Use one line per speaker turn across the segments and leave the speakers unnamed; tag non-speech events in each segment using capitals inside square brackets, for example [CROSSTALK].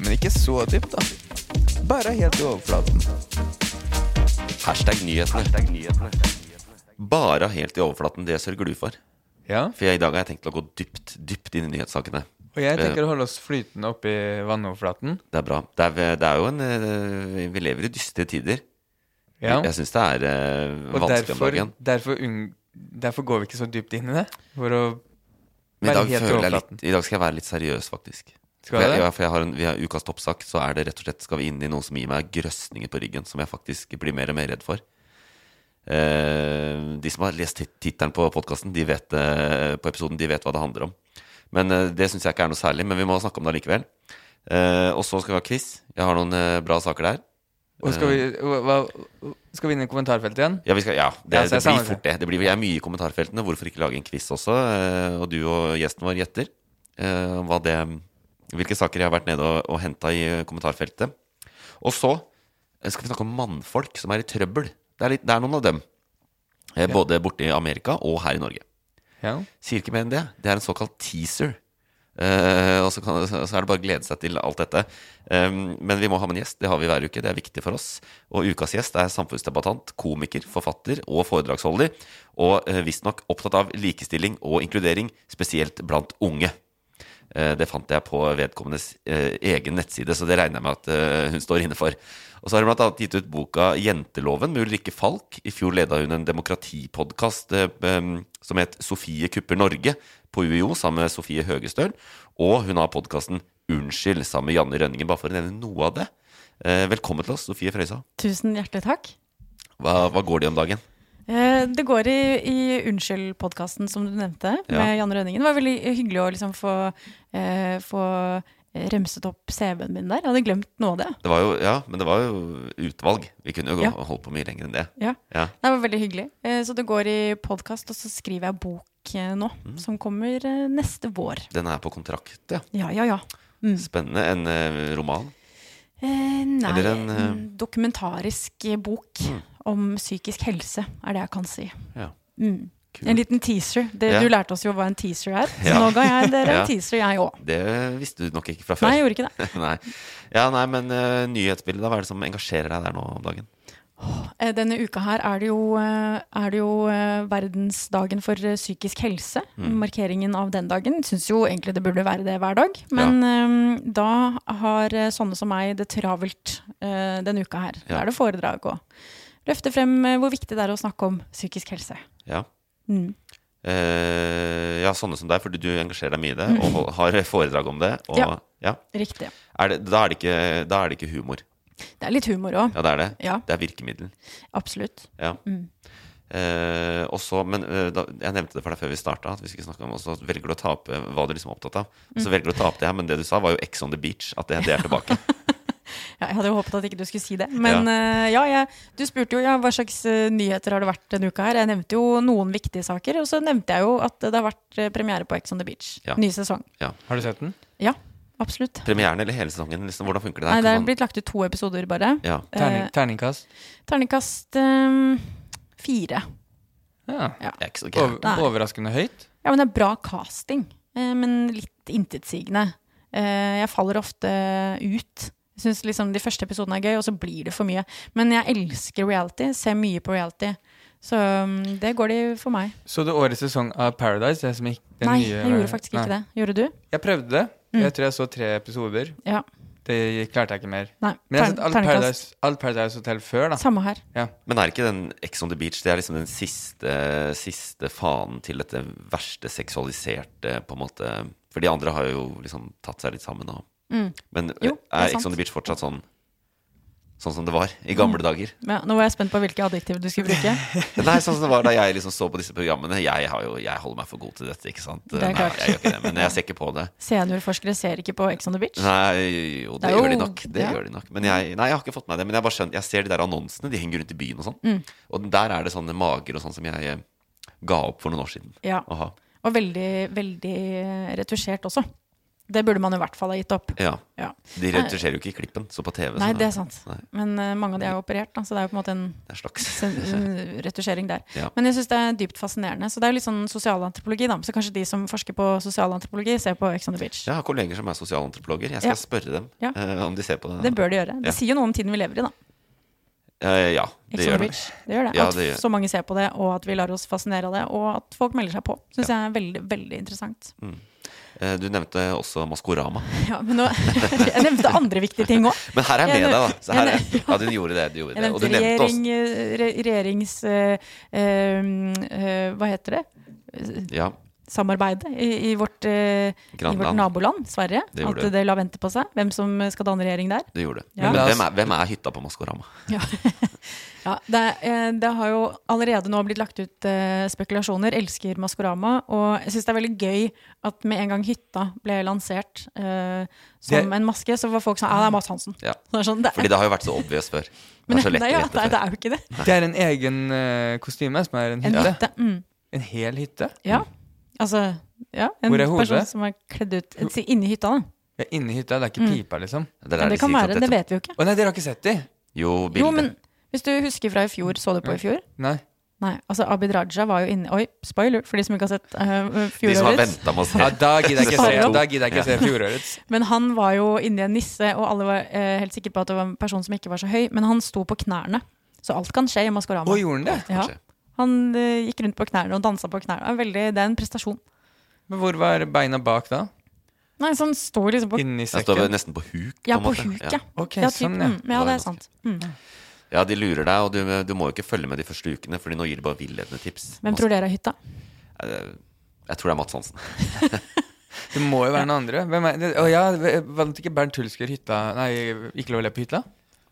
Men ikke så dypt, da. Bare helt i overflaten.
Hashtag nyhetene. Bare helt i overflaten, det sørger du for.
Ja,
For jeg, i dag har jeg tenkt å gå dypt dypt inn i nyhetssakene.
og
Eh.
jeg tenker å holde oss flytende oppi vannoverflaten.
Det er bra. Det er, det er jo en eh, Vi lever i dystre tider.
Ja,
Jeg syns det er eh,
og
vanskelig om
derfor,
dagen.
derfor, unng- derfor går vi ikke så dypt inn i det. For å
Men i
være
dag,
helt i
føler jeg litt,
overflaten.
I dag skal jeg være litt seriøs, faktisk.
Skal
for
du
jeg,
det?
ja, for jeg har en, vi har ukas toppsak, så er det rett og slett skal vi inn i noe som gir meg grøsninger på ryggen, som jeg faktisk blir mer og mer redd for. Eh, de som har lest tit- tittelen på podkasten, de vet eh, på episoden, de vet hva det handler om. Men eh, det syns jeg ikke er noe særlig, men vi må snakke om det likevel. Eh, og så skal vi ha quiz. Jeg har noen eh, bra saker der.
Og skal vi, hva, skal vi inn i kommentarfeltet igjen?
Ja, vi skal, ja det, det
Ja, så jeg
blir
savner
fort det. det blir, jeg er mye i kommentarfeltene. Hvorfor ikke lage en quiz også? Eh, Og du og gjesten vår gjetter eh, hva det, hvilke saker jeg har vært nede og, og henta i eh, kommentarfeltet. Og så eh, skal vi snakke om mannfolk som er i trøbbel. Det er, litt, det er noen av dem. Eh, Både borte i Amerika og her i Norge.
Ja.
Sier ikke mer enn det. Det er en såkalt teaser. Eh, og så, kan, så er det bare å glede seg til alt dette. Em, men vi må ha med en gjest. Det har vi hver uke. Det er viktig for oss. Og ukas gjest er samfunnsdebattant, komiker, forfatter og foredragsholder. Og uh, visstnok opptatt av likestilling og inkludering, spesielt blant unge. Eh, Det fant jeg på vedkommendes eh, egen nettside, så det regner jeg med at eh, hun står inne for. Og så har hun bl.a. gitt ut boka 'Jenteloven' med Ulrikke Falk. I fjor leda hun en demokratipodkast eh, em, som het 'Sofie kupper Norge' på UiO sammen med Sofie Høgestøl. Og hun har podkasten 'Unnskyld' sammen med Janne Rønningen, bare for å nevne noe av det. Eh, Velkommen til oss, Sofie Frøysa.
Tusen hjertelig takk.
Hva, hva går det om dagen?
Eh, Det går i, i Unnskyld-podkasten som du nevnte,
Ja.
med Janne Rønningen. Det var veldig hyggelig å liksom få, eh, få remset opp CV-en min der. Jeg hadde glemt noe av det.
Det var jo, ja, men det var jo utvalg. Vi kunne jo gå,
Ja.
holdt på mye lenger enn det.
Ja.
Ja.
Det var veldig hyggelig. Eh, Så det går i podkast, og så skriver jeg bok eh, nå,
Mm.
som kommer eh, neste vår.
Den er på kontrakt, ja.
Ja, ja, Mm. ja.
Spennende. En eh, roman.
Eh, nei,
Eller en, eh, Mm.
en dokumentarisk eh, bok om psykisk helse, er det jeg kan si.
Ja.
Mm.
Kult.
En liten teaser. Det,
Ja.
Du lærte oss jo hva en teaser er. Så
Ja.
nå
[LAUGHS]
ga jeg dere
Ja.
en teaser, jeg òg.
Det visste du nok ikke fra før.
Nei, jeg gjorde ikke
[LAUGHS]
det.
nei. Ja, nei, men eh, nyhetsbildet, da, hva er det som engasjerer deg der nå om dagen?
Eh, Denne uka her er det jo, eh, er det jo eh, verdensdagen for eh, psykisk helse. Markeringen av den dagen. Syns jo egentlig det burde være det hver dag. Men eh, da har eh, sånne som meg det travelt eh, denne uka her.
Ja.
Da er det foredrag og løfte frem eh, hvor viktig det er å snakke om psykisk helse.
Ja.
Mm.
Eh, ja, sånne som deg, fordi du engasjerer deg mye i det, og hol- har foredrag om det. Og,
Mm. Ja.
ja.
Riktig.
Er det, da, er det ikke, da er det ikke humor.
Det er litt humor òg.
Ja, det er det.
Ja.
Det er virkemiddel.
Absolutt.
Ja.
Mm.
Eh, og så, men eh, da, Jeg nevnte det for deg før vi starta, at vi skulle snakke om og så velger du å ta opp eh, hva du liksom er opptatt av.
Mm.
Og så velger du å ta opp det her, men det du sa, var jo Ex on the beach. At det, det er
[LAUGHS]
tilbake.
Ja, jeg hadde jo håpet at ikke du skulle si det. Men eh, ja, jeg, du spurte jo ja, hva slags eh, nyheter har det vært denne uka her. Jeg nevnte jo noen viktige saker, og så nevnte jeg jo at det har vært eh, premiere på Ex on the Beach.
Ja.
Ny sesong.
Har du sett den?
Ja, absolutt.
Premieren eller hele sesongen? Liksom, hvordan funker det der?
Nei, det
Kan
er
man-
blitt lagt ut to episoder bare.
ja.
Terning,
Eh,
terningkast?
terningkast eh, fire.
Ja.
Det er ikke så
Over,
gærent.
Nei.
overraskende høyt.
Ja, men det er bra casting, eh, men litt intetsigende. Eh, jeg faller ofte ut. Jeg syns liksom de første episodene er gøy, og så blir det for mye. Men jeg elsker reality, ser mye på reality. Så um, det går de for meg.
Så du årets sesong av Paradise? Det som gikk, den
Nei,
nye,
jeg gjorde faktisk ikke det. Mm. Gjorde du?
det. Jeg prøvde det. Jeg tror jeg så tre episoder.
Ja.
Det klarte jeg ikke mer.
Nei.
Men jeg har
tern-
sett alt
terningkast.
Paradise, alt Paradise Hotel før, da.
Samme her.
Ja.
Men er ikke den Ex on the Beach Det er liksom den siste, siste fanen til dette verste seksualiserte, på en måte For de andre har jo liksom tatt seg litt sammen og Men
Mm.
eh,
Jo, det er
er Ex
sant. Mm.
on the Beach fortsatt sånn Sånn som det var i gamle
[LAUGHS]
dager?
Ja, nå var jeg spent på hvilke adjektiv du skulle bruke.
[LAUGHS]
Nei, sånn som det var da jeg liksom så på disse programmene. Jeg, har jo, jeg holder meg for god til dette, ikke sant?
Det er
Nei,
klart.
jeg gjør ikke det, men jeg ser ikke på det.
Seniorforskere ser ikke på Ex on the Beach.
Nei, jo, det,
Det er jo-
gjør de nok. Det
ja.
gjør de nok. Men jeg, nei, jeg har ikke fått med det. Men jeg, har bare skjønt, jeg ser de der annonsene. De henger rundt i byen og sånn.
Mm.
Og der er det sånne mager og sånn som jeg eh, ga opp for noen år siden.
Ja.
Å ha.
Og veldig, veldig retusjert også. Det burde man i hvert fall ha gitt opp.
Ja.
Ja.
De retusjerer jo ikke i klippen, så på TV
Nei,
så
det er sant.
Nei,
Men eh, mange av de er jo operert, da, så det er jo på en måte en
det er slags.
sen-
[LAUGHS]
en retusjering der.
Ja.
Men jeg syns det er dypt fascinerende. Så det er jo litt sånn sosialantropologi, da. Så kanskje de som forsker på sosialantropologi, ser på Ex on the Beach.
Jeg har kolleger som er sosialantropologer. Jeg skal
Ja.
spørre dem
Ja.
eh, om de ser på det.
Det bør de gjøre.
Ja.
Det sier jo noe om tiden vi lever i, da.
Eh, ja, det
Ex on
gjør
the
det.
Beach. Det gjør det.
Ja,
at
det gjør-
så mange ser på det, og at vi lar oss fascinere av det, og at folk melder seg på. Syns jeg er veldig, veldig interessant.
Eh, Du nevnte også Maskorama.
Ja, men nå, [LAUGHS] jeg nevnte andre viktige ting òg.
Men her er jeg
Jeg
med deg,
nev-
da. Så her er,
jeg nev-
ja, du gjorde det. Du gjorde
Jeg
det. Og du
nevnte
nevnte
regjering,
også
eh, re, regjerings... eh, eh, eh, hva heter det?
ja,
Samarbeidet i, i, vårt, eh, i vårt
Grannland.
naboland Sverige.
Det gjorde
at
du.
det la vente på seg. Hvem som skal danne regjering der.
du gjorde det.
Ja.
Men hvem er, hvem er hytta på Maskorama?
[LAUGHS] Ja. ja, det, eh, det har jo allerede nå blitt lagt ut eh, spekulasjoner. Elsker Maskorama. Og jeg syns det er veldig gøy at med en gang hytta ble lansert eh, som
Det-
en maske, så var folk sånn Ja, det er Mads Hansen.
Ja.
Så det er sånn, det,
Fordi det har jo vært så obvious
[LAUGHS]
før. Det
men,
er så lett
nei,
å
ja,
gjette
nei,
før.
det er jo ikke det.
Det er en egen eh, kostyme som er en
En
hytte.
hytte. Mm.
En hel hytte?
Mm.
Ja. Altså, ja, en
Hvor er hodet?
person som er kledd ut si, inni hytta, da.
Ja, inni hytta. Det er ikke pipa, liksom.
Det, er
Men
der de
det kan
sier at
være, det
dette-
vet vi jo ikke.
Å nei, dere har ikke sett de?
Jo, bildet. Mm.
Jo, men hvis du husker fra i fjor, så du på i fjor?
Nei.
Nei, altså Abid Raja var jo inne Oi, spoiler for de som ikke har sett eh,
de som har
fjorårets.
venta med å se.
Ja, da gidder jeg ikke se,
Sparrow.
da gidder jeg ikke se fjorårets.
Men han var jo inni en nisse, og alle var eh, helt sikre på at det var en person som ikke var så høy, men han sto på knærne. Så alt kan skje i Maskorama.
Å, gjorde han det?
ja.
skje.
Han eh, gikk rundt på knærne og dansa på knærne. Det er Veldig, det er en prestasjon.
Men hvor var beina bak da?
Nei, så han sto liksom på
Inni
Jeg står
sekken?
nesten på huk.
Ja,
en
på
måte.
huk, ja.
Ok,
ja,
sånn, ja.
ja. Mm, ja,
Det var
det
en
er sant. Mm.
Ja, de lurer deg, og du, du må jo ikke følge med de første ukene, Fordi nå gir de bare villedende tips.
Hvem tror dere er hytta?
Jeg, jeg tror det er Mats Hansen.
Det må jo være noen andre. Hvem er det? Å ja, vant ikke Bernt Hulsker hytta Nei, ikke lov å le på hytta?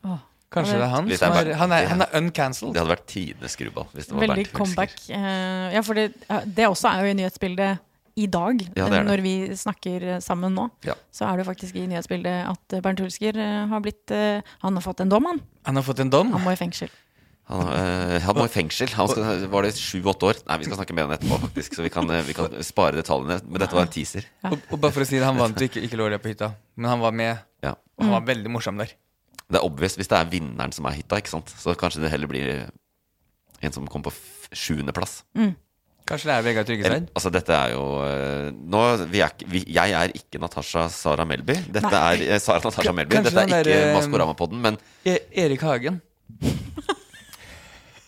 Åh,
Kanskje det er han?
Hvis det er
Som er,
Bernt-
han, er, han er
Det
uncancelled.
hadde vært tidenes skruball hvis det var
Veldig
Bernt Hulsker.
comeback. Eh, ja, for det, ja, det også er jo i nyhetsbildet i dag.
Ja, det er det.
Når vi snakker eh, sammen nå,
Ja.
så er det jo faktisk i nyhetsbildet at eh, Bernt Hulsker eh, har blitt eh, Han har fått en dom, han.
Han har fått en dom?
Han må i fengsel.
Han, øh, han må i fengsel. Han skal, var det sju-åtte år? Nei, vi skal snakke mer om det etterpå, faktisk. Så vi kan, øh, vi kan spare detaljene. Men dette var en teaser.
Og, og bare for å si det, han vant jo ikke Ikke lov å le på hytta, men han var med.
Ja.
Og han var veldig morsom der.
Det er obvious hvis det er vinneren som er hytta, ikke sant. Så kanskje det heller blir en som kommer på f- sjuendeplass.
Kanskje det er
Eller,
Vegard Tryggeseid?
altså dette er jo eh, nå, vi er, ikke- vi, Jeg er ikke Natasha Sara Melby. Dette er eh, Sara Natasha
Ka-
Melby.
kanskje
Dette er
den
ikke
der, eh,
Maskorama-podden, men
E Erik Hagen.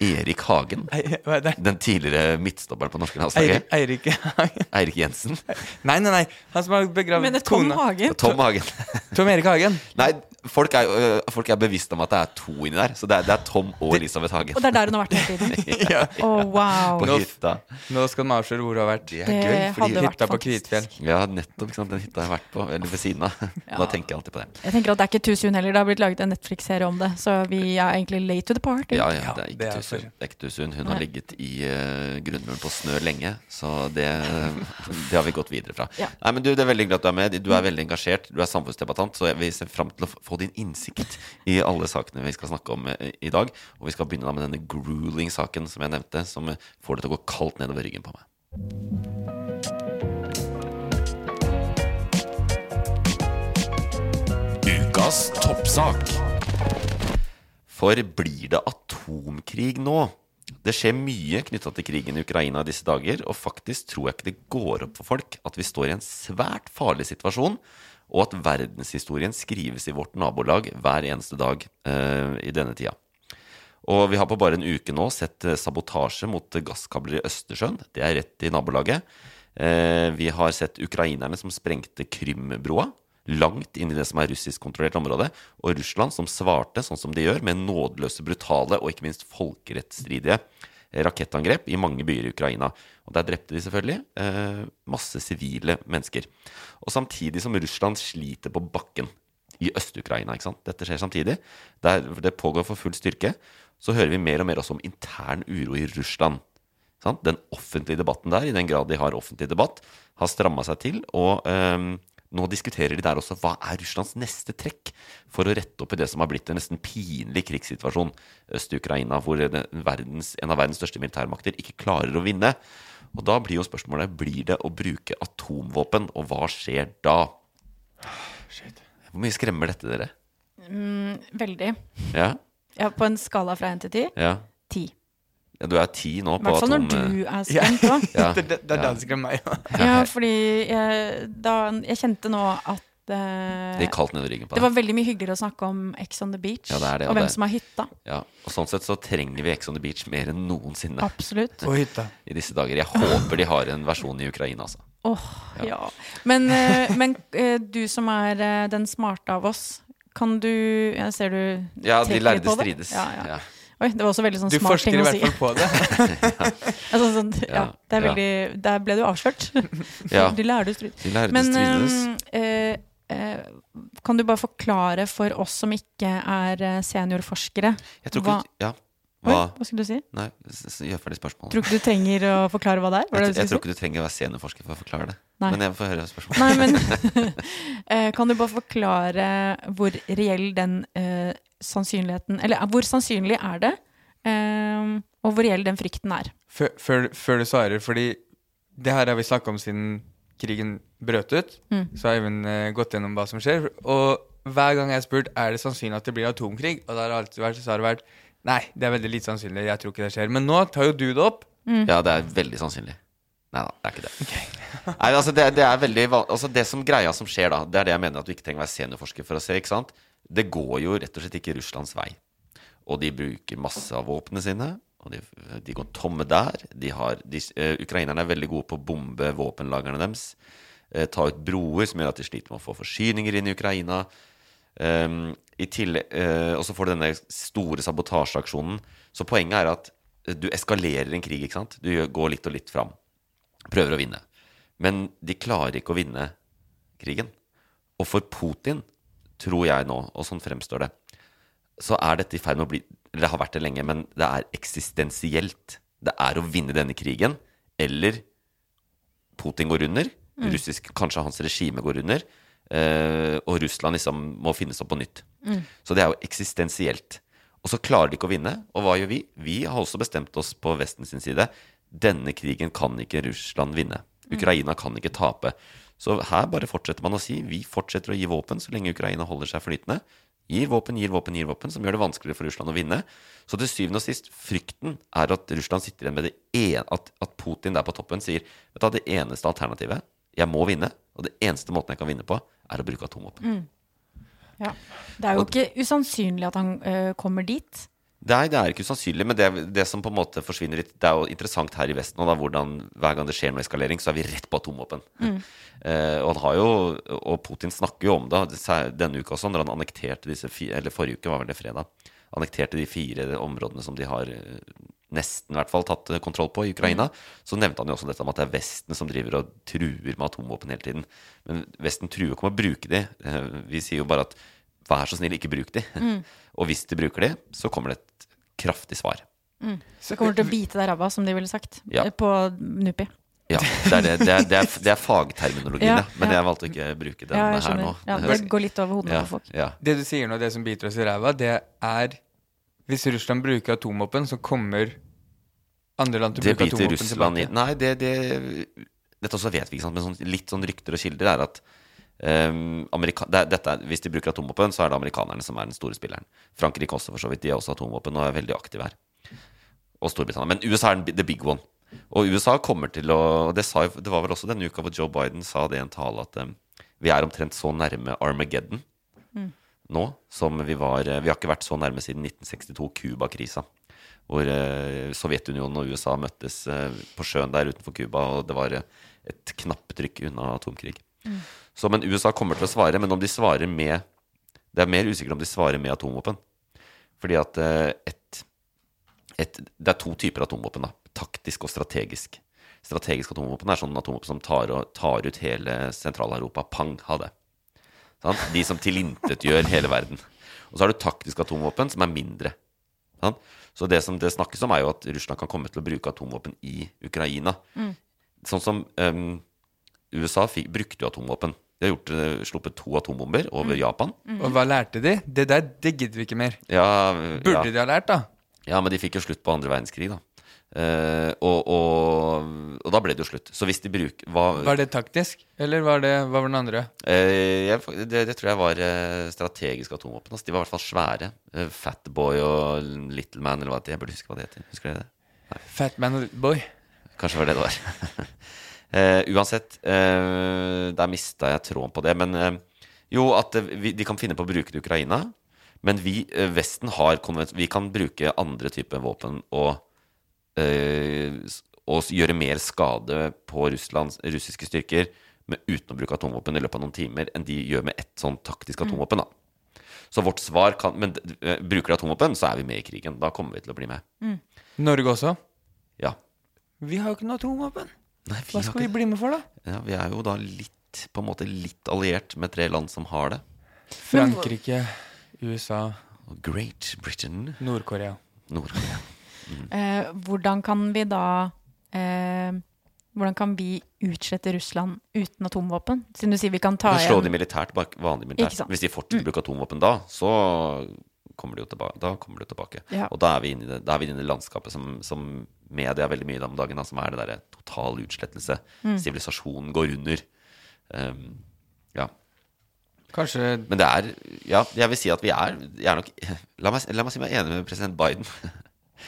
Erik Hagen.
Ei, [LAUGHS] hva er det?
Den tidligere midtstopperen på norske landslaget.
Eirik, Eirik Hagen.
Eirik Jensen.
Nei, nei, nei. Han som har
Men
begravd
det er Tom
kona.
Hagen
Tom Hagen. [LAUGHS]
Tom Erik Hagen.
Nei, folk er, jo, eh, folk er bevisst om at det er to inni der. Så det er, det er Tom og Elisabeth Hagen.
Og det er
[LAUGHS]
der hun har vært hele tiden.
Ja.
Å, wow.
På
Nå-
hytta.
Nå skal de avsløre hvor hun har vært.
Det er
Det
gøy.
hadde
Fordi,
Hytta på
vært fantastisk.
Kvitfjell.
ja, nettopp. Ikke sant? Den hytta jeg har vært på. Eller ved siden av. Da tenker jeg alltid på det.
Jeg tenker at Det er ikke too soon heller. Det har blitt laget en Netflix-serie om det. Så vi er egentlig late to the party.
Ja, ja, det er
det
ikke
er
Tusen.
for-
Det er ikke Tusen. Hun har ligget i eh, grunnmuren på snø lenge, så det, eh, det har vi gått videre fra.
Ja.
Nei, men du, Det er veldig hyggelig at du er med. Du er veldig engasjert. Du er samfunnsdebattant, så jeg- vi ser fram til å få din innsikt i alle sakene vi skal snakke om eh, i dag. Og vi skal begynne da med denne grueling-saken som jeg nevnte, som eh, får det til å gå kaldt nedover ryggen på meg.
Ukas toppsak.
For blir det atomkrig nå? Det skjer mye knytta til krigen i Ukraina i disse dager, og faktisk tror jeg ikke det går opp for folk at vi står i en svært farlig situasjon, og at verdenshistorien skrives i vårt nabolag hver eneste dag eh, i denne tida. Og vi har på bare en uke nå sett eh, sabotasje mot eh, gasskabler i Østersjøen. Det er rett i nabolaget. Eh, Vi har sett ukrainerne som sprengte Krymbroa. Langt inn i det som er russiskkontrollert område. Og Russland som svarte, sånn som de gjør, med nådeløse, brutale og ikke minst folkerettsstridige eh, rakettangrep i mange byer i Ukraina. Og der drepte de selvfølgelig eh, masse sivile mennesker. Og samtidig som Russland sliter på bakken i Øst-Ukraina. ikke sant? Dette skjer samtidig. Der det pågår for full styrke. Så hører vi mer og mer også om intern uro i Russland. ikke Sant? Den offentlige debatten der, i den grad de har offentlig debatt, har stramma seg til. Og ehm, nå diskuterer de der også hva er Russlands neste trekk for å rette opp i det som har blitt en nesten pinlig krigssituasjon øst i Ukraina, hvor det- verdens, en av verdens største militærmakter ikke klarer å vinne. Og da blir jo spørsmålet blir det å bruke atomvåpen, og hva skjer da? Hvor mye skremmer dette dere?
Veldig.
Ja,
Ja, på en skala fra 1 til 10
ja.
10.
ja du er ti nå
I
på
hvert fall
atom... eh,
når du er skremt òg.
[LAUGHS] Ja,
Det, det, det er det som skremmer meg. ja.
Ja, fordi jeg, da, jeg kjente nå at eh,
det gikk kaldt nedover ryggen på
det var
deg.
veldig mye hyggeligere å snakke om Ex on the Beach
Ja, det er det, og
og hvem
det-
som har hytta.
Ja, og sånn sett så trenger vi Ex on the Beach mer enn noensinne
Absolutt.
Og hytta.
i disse dager. Jeg håper de har en versjon i Ukraina, altså.
Åh, ja. Men, eh, men eh, du som er eh, den smarte av oss, kan du Jeg ser du
Ja, de
tenker litt
lærde
på det.
strides.
Ja, ja. [LAUGHS]
Ja.
Oi, det var også veldig sånn
Du
smart
forsker i
ting å
hvert
si.
fall på det.
[LAUGHS] Altså, sånn, ja,
Ja,
det er
ja.
veldig, Der ble du avslørt.
[LAUGHS] Ja.
De lærde strides.
De lærde
Men
strides.
eh, eh, kan du bare forklare for oss som ikke er eh, seniorforskere
Jeg tror ikke
hva-
Ja.
Oi,
Hva?
hva skulle du si?
Nei, s- s- gjør ferdig spørsmålet.
Tror ikke du trenger å forklare hva det er? Var
Jeg,
det det
jeg
du
tror
skulle
ikke
si?
du trenger å være seniorforsker for å forklare det.
Nei.
Men jeg får høre spørsmålet.
Nei, men [LAUGHS] eh, Kan du bare forklare hvor reell den eh, sannsynligheten Eller eh, hvor sannsynlig er det, eh, og hvor reell den frykten er?
Før, før, før du svarer, fordi det her har vi snakka om siden krigen brøt ut.
Mm.
Så har Even eh, gått gjennom hva som skjer. Og hver gang jeg har spurt er det sannsynlig at det blir atomkrig, og det har alltid vært, så har det vært nei, det er veldig lite sannsynlig, jeg tror ikke det skjer. Men nå tar jo du det opp.
Mm.
Ja, det er veldig sannsynlig. Nei da, det er ikke det. Nei, altså det, det er veldig van- altså Det som greia som skjer da, det er det jeg mener at du ikke trenger å være seniorforsker for å se. ikke sant? Det går jo rett og slett ikke Russlands vei. Og de bruker masse av våpnene sine. Og de, de går tomme der. De har, de, eh, ukrainerne er veldig gode på å bombe våpenlagrene deres. eh, ta ut broer som gjør at de sliter med å få forsyninger inn i Ukraina. Um, i tillegg, eh, og så får du denne store sabotasjeaksjonen. Så poenget er at eh, du eskalerer en krig, ikke sant? Du gjør- går litt og litt fram. Prøver å vinne. Men de klarer ikke å vinne krigen. Og for Putin, tror jeg nå, og sånn fremstår det, så er dette i ferd med å bli eller Det har vært det lenge, men det er eksistensielt. Det er å vinne denne krigen, eller Putin går under. Russisk, kanskje hans regime går under. eh, og Russland liksom må finnes opp på nytt. Så det er jo eksistensielt. Og så klarer de ikke å vinne. Og hva gjør vi? Vi har også bestemt oss på Vesten sin side. Denne krigen kan ikke Russland vinne. Ukraina kan ikke tape. Så her bare fortsetter man å si vi fortsetter å gi våpen så lenge Ukraina holder seg flytende. Gir våpen, gir våpen, gir våpen, som gjør det vanskeligere for Russland å vinne. Så til syvende og sist, frykten er at Russland sitter igjen med det ene at, at Putin der på toppen sier Vet du, hva, det eneste alternativet Jeg må vinne, og det eneste måten jeg kan vinne på, er å bruke atomvåpen.
Ja. Det er jo
Og-
ikke usannsynlig at han eh, kommer dit.
Nei, det er ikke usannsynlig, men det, det som på en måte forsvinner litt Det er jo interessant her i Vesten, og da hvordan hver gang det skjer noe eskalering, så er vi rett på atomvåpen. Eh, og, han har jo, og Putin snakker jo om det sær- denne uka også, når han annekterte disse fire Eller forrige uke, var vel det fredag. Annekterte de fire områdene som de har eh, nesten i hvert fall tatt eh, kontroll på i Ukraina. Så nevnte han jo også dette med at det er Vesten som driver og truer med atomvåpen hele tiden. Men Vesten truer ikke med å bruke de. Eh, vi sier jo bare at vær så snill, ikke bruk de. Og hvis de bruker de, så kommer det et kraftig svar.
Det kommer til å bite deg i ræva, som de ville sagt,
Ja.
eh, på Nupi.
Ja, [LAUGHS] det er, det, det er, det er, det er fagterminologien,
Ja,
ja, men
ja.
jeg valgte å ikke bruke den
Ja, jeg
her nå.
skjønner. Ja, det går litt over hodene
ja,
på folk.
ja.
Det du sier nå, det som biter oss i ræva, det er hvis Russland bruker atomvåpen, så kommer andre land til å
Det
bruke
biter
atomvåpen
Russland i
tilbake.
Nei, det, det Dette også vet vi, ikke sant, men sånn, litt sånn rykter og kilder er at ehm, Amerika, det, er- dette er, Hvis de bruker atomvåpen, så er det amerikanerne som er den store spilleren. Frankrike også, for så vidt. De har også atomvåpen og er veldig aktive her. Og Storbritannia. Men USA er den bi- the big one. Og USA kommer til å Det, sa, jo- det var vel også denne uka hvor Joe Biden sa det i en tale at ehm, vi er omtrent så nærme Armageddon. nå som vi var eh, Vi har ikke vært så nærme siden 1962, Cuba-krisa. Hvor eh, Sovjetunionen og USA møttes eh, på sjøen der utenfor Cuba, og det var eh, et knapptrykk unna atomkrig. Så, men USA kommer til å svare, men om de svarer med Det er mer usikkert om de svarer med atomvåpen. Fordi at eh, et, et Det er to typer atomvåpen, da. Taktisk og strategisk. Strategisk atomvåpen er sånn atomvåpen som tar, og, tar ut hele Sentral-Europa. Pang, ha det. Sant? De som tilintetgjør hele verden. Og så har du taktisk atomvåpen, som er mindre. Sant? Så det som det snakkes om, er jo at Russland kan komme til å bruke atomvåpen i Ukraina. Sånn som ehm, USA fikk, brukte jo atomvåpen. De har gjort, eh, sluppet to atombomber over Japan.
Og hva lærte de? Det der, det gidder vi ikke mer.
Ja,
Burde
ja.
de ha lært, da?
Ja, men de fikk jo slutt på andre verdenskrig, da. Eh, og, og, og da ble det jo slutt. Så hvis de bruker hva-
Var det taktisk, eller var det, hva var den andre?
Eh, jeg, fak- det, det tror jeg var eh, strategisk atomvåpen. Altså. De var i hvert fall svære. Eh, Fatboy og Little Man, eller hva det Jeg burde huske hva det heter. Husker dere det?
Fatman og Little Boy.
Kanskje det var det det var. [LAUGHS] Eh, uansett, eh, der mista jeg tråden på det. Men eh, jo, at eh, vi, de kan finne på å bruke det i Ukraina. Men vi, eh, Vesten har konvens- Vi kan bruke andre typer våpen og, eh, s- og s- gjøre mer skade på Russlands, russiske styrker med, uten å bruke atomvåpen i løpet av noen timer enn de gjør med ett sånn taktisk
Mm.
atomvåpen. da så vårt svar kan Men d- eh, bruker de atomvåpen, så er vi med i krigen. Da kommer vi til å bli med.
Norge også.
Ja.
Vi har jo ikke noe atomvåpen.
Nei, vi
Hva
har
skal
ikke
vi bli med for, da?
Ja, vi er jo da litt, på en måte litt alliert med tre land som har det.
Frankrike, USA,
Og Great Britain,
Nord-Korea.
Nord-Korea.
Eh, hvordan kan vi da eh, Hvordan kan vi utslette Russland uten atomvåpen? Siden du sier vi
Vi
kan ta
kan slå de
igjen
militært, bak vanlig
Ikke
militært.
sant. Mm.
Hvis de fortsetter å bruke atomvåpen da, så kommer de jo tilbake. Da kommer de tilbake.
Ja.
Og da er vi inne i det, da er vi inne i det landskapet som, som media er veldig mye i om dagen, da, som er det derre total utslettelse.
Mm.
Sivilisasjonen går under. Um, ja.
Kanskje
Men det er Ja, jeg vil si at vi er, jeg er nok, la, meg, la meg si meg enig med president Biden.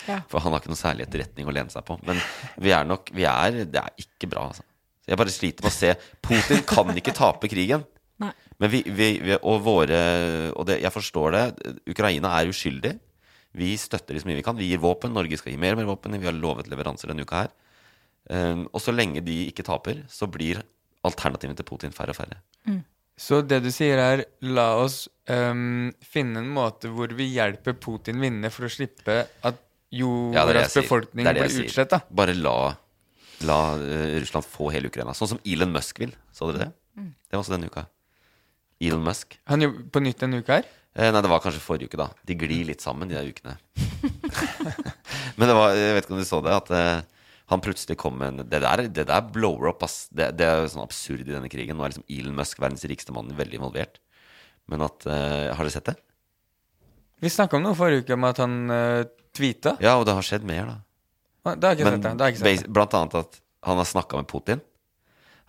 Ja.
[LAUGHS] For han har ikke noe særlig etterretning å lene seg på. Men vi er nok vi er, Det er ikke bra, altså. Så Jeg bare sliter med å se Putin kan ikke tape krigen.
Nei.
Men vi, vi, vi Og våre Og det, jeg forstår det. Ukraina er uskyldig. Vi støtter de så mye vi kan. Vi gir våpen. Norge skal gi mer og mer våpen. Vi har lovet leveranser denne uka her. Um, og så lenge de ikke taper, så blir alternativene til Putin færre og færre.
Så det du sier er, la oss øhm, finne en måte hvor vi hjelper Putin vinne for å slippe at
Ja, det er det jeg
jordas
sier.
befolkning
Det er det
blir
jeg sier.
utsletta.
Bare la, la eh, Russland få hele Ukraina. Sånn som Elon Musk vil. Så dere det? Det var også denne uka. Elon Musk.
Han jobber på nytt denne uka her.
Eh, nei, det var kanskje forrige uke, da. De glir litt sammen, de der ukene. [LAUGHS] Men det var, jeg vet ikke om du så det, at eh, han plutselig kom med en Det der, det der blower up, ass. Det, det er jo sånn absurd i denne krigen. Nå er liksom Elon Musk, verdens rikeste mann, veldig involvert. Men at eh, Har dere sett det?
Vi snakka om noe forrige uke om at han øh, tweeta.
Ja, og det har skjedd mer, da.
Ah, Da har jeg ikke sett det. Da har jeg ikke
bas-
sett det.
blant annet at han har snakka med Putin.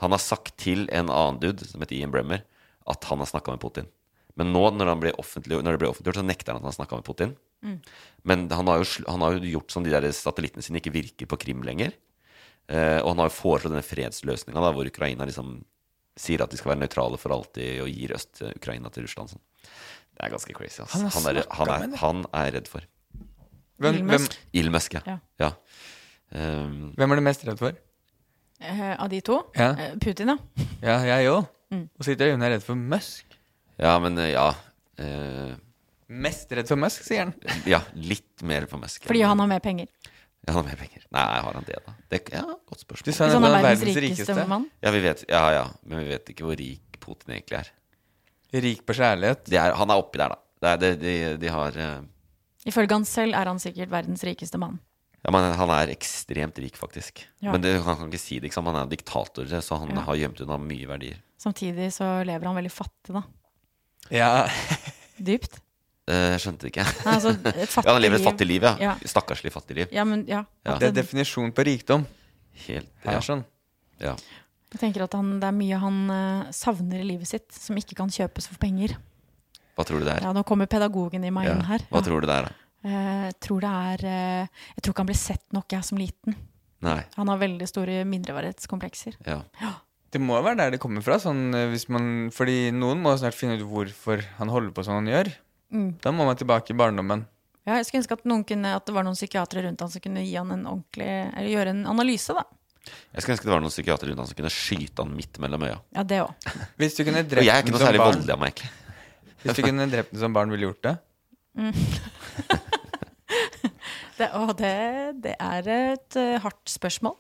Han har sagt til en annen dude som heter Ian Bremmer, at han har snakka med Putin. Men nå når, han blir offentlig, når det blir offentliggjort, så nekter han at han har snakka med Putin.
Mm.
Men han har, jo, sl- han har jo gjort som de der satellittene sine ikke virker på Krim lenger. Eh, og han har jo foreslått denne fredsløsninga da, hvor Ukraina liksom sier at de skal være nøytrale for alltid, og gir Øst-Ukraina til Russland. Sånn. Det er ganske crazy. ass.
Han har
Han, er, han,
snakket med
er,
det.
han er redd for.
Hvem,
Elon
hvem,
Musk.
Ildmøsk, ja.
Ja.
ja. Um,
hvem er du mest redd for?
eh, av de to.
Ja,
Eh, Putin, ja.
ja jeg òg.
Mm.
Og sitter hun er redd for Musk.
Ja, men eh, ja. Eh,
Mest redd for Musk,
[LAUGHS]
sier han.
ja, litt mer for Musk.
Fordi han har mer penger.
Ja, han har mer penger. Nei, har han det, da? Det, ja, Godt
Du
spørsmål.
sa
Hvis
han
han
var
er verdens rikeste mann.
Ja, vi vet, ja, ja, men vi vet ikke hvor rik Putin egentlig er.
Rik på kjærlighet.
De er han er oppi der, da. Det er, det, de, de har eh,
Ifølge han selv er han sikkert verdens rikeste mann.
Ja, men Han er ekstremt rik, faktisk.
Ja.
Men det, han kan ikke si det, ikke sant? Han er diktator, så han
Ja.
har gjemt unna mye verdier.
Samtidig så lever han veldig fattig, da.
Ja,
Dypt.
Eh, Jeg skjønte det ikke. [LAUGHS]
Nei, altså, et fattig
Ja, han lever et
liv.
fattig liv, ja.
Ja.
Stakkarslig fattig liv.
Ja, men ja.
Ja.
at
det er
det-
definisjonen på rikdom.
Helt,
Her,
ja,
sånn.
ja.
Jeg tenker at han, det er mye han eh, savner i livet sitt, som ikke kan kjøpes for penger.
Hva tror du det er?
Ja, nå kommer pedagogen i meg
Ja.
inn her.
Hva tror du det er, da?
Eh, jeg tror det er eh, Jeg tror ikke han ble sett nok, jeg, som liten.
Nei.
Han har veldig store mindreverdighetskomplekser.
Ja.
Det må jo være der det kommer fra. Sånn, eh, hvis man, fordi noen må snart finne ut hvorfor han holder på som han gjør.
Mm.
Da må man tilbake i barndommen.
Ja, jeg skulle ønske at, noen kunne, at det var noen psykiatere rundt han som kunne gi han en ordentlig, eller gjøre en analyse. da.
Jeg skulle ønske det var noen psykiatere rundt han som kunne skyte han midt mellom øya.
Ja, det òg.
Hvis du kunne
Og jeg er
drept
ikke
den
noe
som
særlig
barn,
voldelig av meg, egentlig.
hvis du kunne drept den som barn, ville du gjort det?
Det, å, det, det er et eh, hardt spørsmål.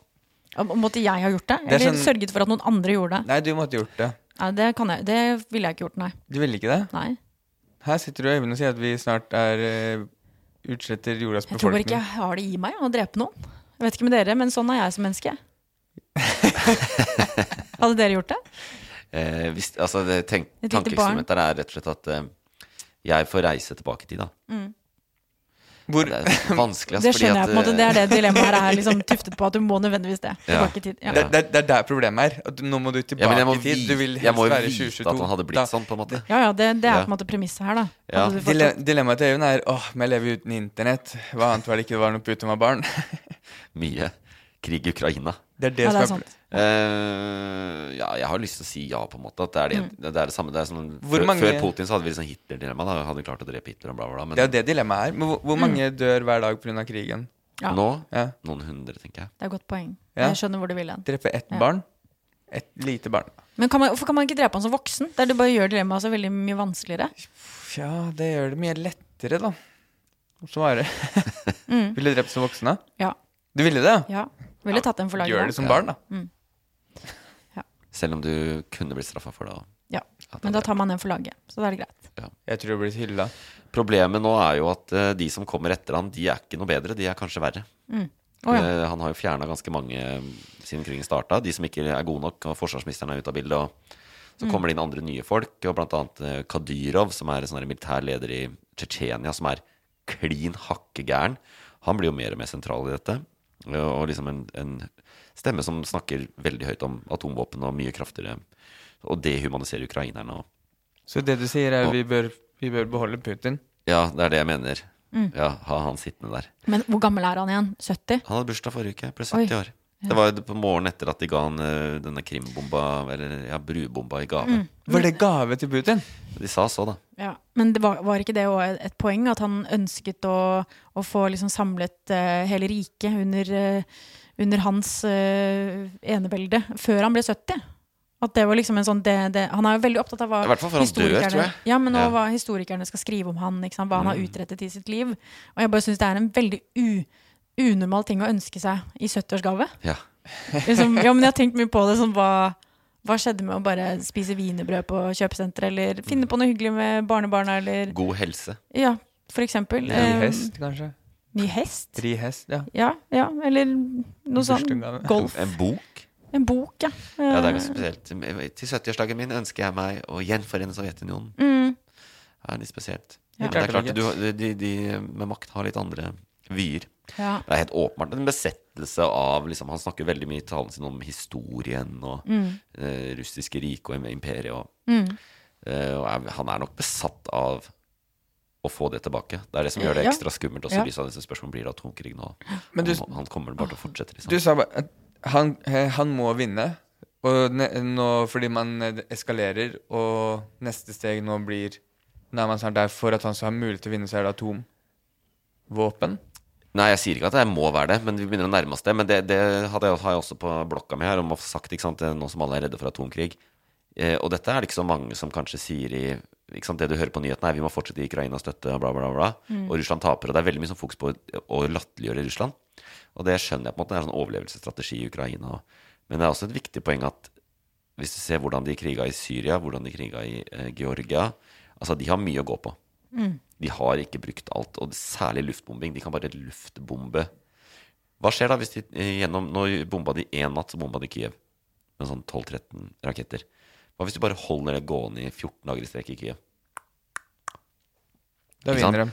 Om- om Måtte jeg ha gjort det?
Det er
Eller
sånn-
sørget for at noen andre gjorde det?
Nei, du måtte gjort det.
Nei, det, kan jeg, det ville jeg ikke gjort, nei.
Du ville ikke det?
nei.
Her sitter du og Øyvind og sier at vi snart er eh, utsletter jordas
Jeg tror bare
befolkning.
ikke jeg har det i meg å drepe noen. Jeg vet ikke med dere, men sånn er jeg som menneske. Hadde dere gjort det?
Eh, hvis, altså, det tenk,
Et lite
tankeeksperimentet der er rett og slett at eh, jeg får reise tilbake i tid, da.
Hvor,
Det er vanskelig, ass,
Mm. [LAUGHS] Det
fordi
skjønner jeg
at,
på en måte.
eh,
Det er det dilemmaet her er liksom tuftet på, at du må nødvendigvis det.
Ja.
Tilbake i tid.
det,
Ja.
det, det er der problemet er. At du- nå må du
eh, ja, men
tilbake
jeg må
i tid. Du vil
vite, jeg
helst
må
være i
vite
2022.
at han hadde
Da-
blitt sånn, på en måte.
Ja, ja, det, det er
Ja.
på en måte premisset her, da.
Ja.
Hadde du
Dile
fortsatt-
dilemmaet til Øyvind er åh, men jeg lever uten internett. Hva annet var det ikke det var noe pute om var barn? [LAUGHS]
Mye krig i Ukraina.
Det er det
Ja,
som er
det er
pro-
sant.
Eh, ja, jeg har lyst til å si ja, på en måte. At det er det,
Mm.
det, er det samme. Det er sånn,
Hvor
før,
mange-
før Putin så hadde vi sånn Hitler-dilemma. da, Hadde klart å drepe Hitler og bla, bla, bla. Men
Det er jo det dilemmaet er. Men hvor,
Mm.
hvor mange dør hver dag pga. krigen?
Ja.
nå
Ja.
noen hundre, tenker jeg.
Det er et godt poeng.
Ja.
Jeg skjønner hvor du vil hen.
Drepe ett barn? Et lite barn.
Men kan man, hvorfor kan man ikke drepe han som voksen? Der du bare gjør dilemmaet så veldig mye vanskeligere.
Pff, Ja, det gjør det mye lettere, da. Å svare. Ville du drept som voksen, da?
Ja.
Du ville det? ja?
Mm. ja. Ville tatt den for laget.
Gjør
da.
det som barn, da.
Selv om du kunne blitt straffa for det. og
Ja.
at
Men
det
da tar man den for laget, så da er det greit.
Jeg tror du blir hylla.
Problemet nå er jo at eh, de som kommer etter han, de er ikke noe bedre. De er kanskje verre.
Å ja.
Eh, han har jo fjerna ganske mange eh, siden krigen starta. De som ikke er gode nok, og forsvarsministeren er ute av bildet. Og så
Mm.
kommer det inn andre nye folk, og blant annet eh, Kadyrov, som er en sånn her militær leder i Tsjetsjenia, som er klin hakke gæren. Han blir jo mer og mer sentral i dette. eh, Og liksom en, en stemme som snakker veldig høyt om atomvåpen og mye kraftigere. Og dehumaniserer ukrainerne. Og
Så det du sier, er
Og-
vi bør, vi bør beholde Putin.
ja, det er det jeg mener.
Mm.
Ja, ha han sittende der.
Men hvor gammel er han igjen? 70?
Han hadde bursdag forrige uke, ble
Oi.
70 år. Det var jo på morgenen etter at de ga han eh, denne krimbomba, eller ja, brubomba i gave.
Var det gave til Putin?
De sa så, da.
Mm. Ja. Men det var, var ikke det òg et- et poeng at han ønsket å, å få liksom samlet eh, hele riket under, eh, under hans eh, enevelde før han ble 70? At det var liksom en sånn det, det, Han er jo veldig opptatt av hva
I hvert fall før han dør,
historikerne-
tror jeg.
Ja, men
Ja. Mm.
og hva historikerne skal skrive om han, ikke sant? hva han har utrettet i sitt liv. Og jeg bare syns det er en veldig u, unormal ting å ønske seg i
[LAUGHS]
70-årsgave.
Ja.
Liksom, ja, men jeg har tenkt mye på det. Sånn, hva, hva skjedde med å bare spise wienerbrød på kjøpesenter, eller finne på noe hyggelig med barnebarna, eller
Mm. God helse.
Ja, for eksempel.
Ri
eh,
hest, kanskje?
Ny hest?
Ri hest, ja.
Ja, ja, eller noe sånn.
Bursdagsgave.
Golf.
En bok.
En bok, ja.
Ja, det er
Mm.
ganske spesielt. Til 70-årsdagen min ønsker jeg meg å gjenforene Sovjetunionen.
Mm,
Det er litt spesielt.
Ja.
Men det er klart,
Klarte det
du, de, de med makt har litt andre vyer.
ja.
Det er helt åpenbart en besettelse av liksom, Han snakker veldig mye i talen sin om historien og eh, russiske riket og im- imperiet. Og,
Mm.
eh, og er, han er nok besatt av å få det tilbake. Det er det som gjør det
Ja.
ekstra skummelt. Også
Ja.
i lys av disse spørsmålene blir det atomkrig nå.
Men du,
han, han kommer bare til å fortsette. Liksom.
du sa bare at han, eh, han må vinne. Og ne, nå, fordi man eh, eskalerer, og neste steg nå blir Nå er man snart der for at han skal ha mulighet til å vinne, så er det atomvåpen.
Nei, jeg sier ikke at jeg må være det, men vi begynner å nærme oss det. Men det, det hadde jeg, har jeg også på blokka mi her, om å få sagt, ikke sant, det er nå som alle er redde for atomkrig. Eh, og dette er det ikke så mange som kanskje sier i ikke sant, Det du hører på nyhetene, er vi må fortsette i Ukraina støtte, og bla, bla, bla. Og Russland taper. Og det er veldig mye sånn fokus på å- å latterliggjøre Russland. Og det skjønner jeg på en måte, det er en sånn overlevelsesstrategi i Ukraina. Men det er også et viktig poeng at hvis du ser hvordan de kriga i Syria, hvordan de kriga i eh, Georgia Altså, de har mye å gå på. De har ikke brukt alt, og særlig luftbombing. De kan bare luftbombe. Hva skjer da hvis de eh, gjennom Nå bomba de én natt, så bomba de Kiev med sånn 12-13 raketter. Hva hvis du bare holder det gående i 14 dager i strekk i Kiev?
Da
Ikke sant?
vinner de.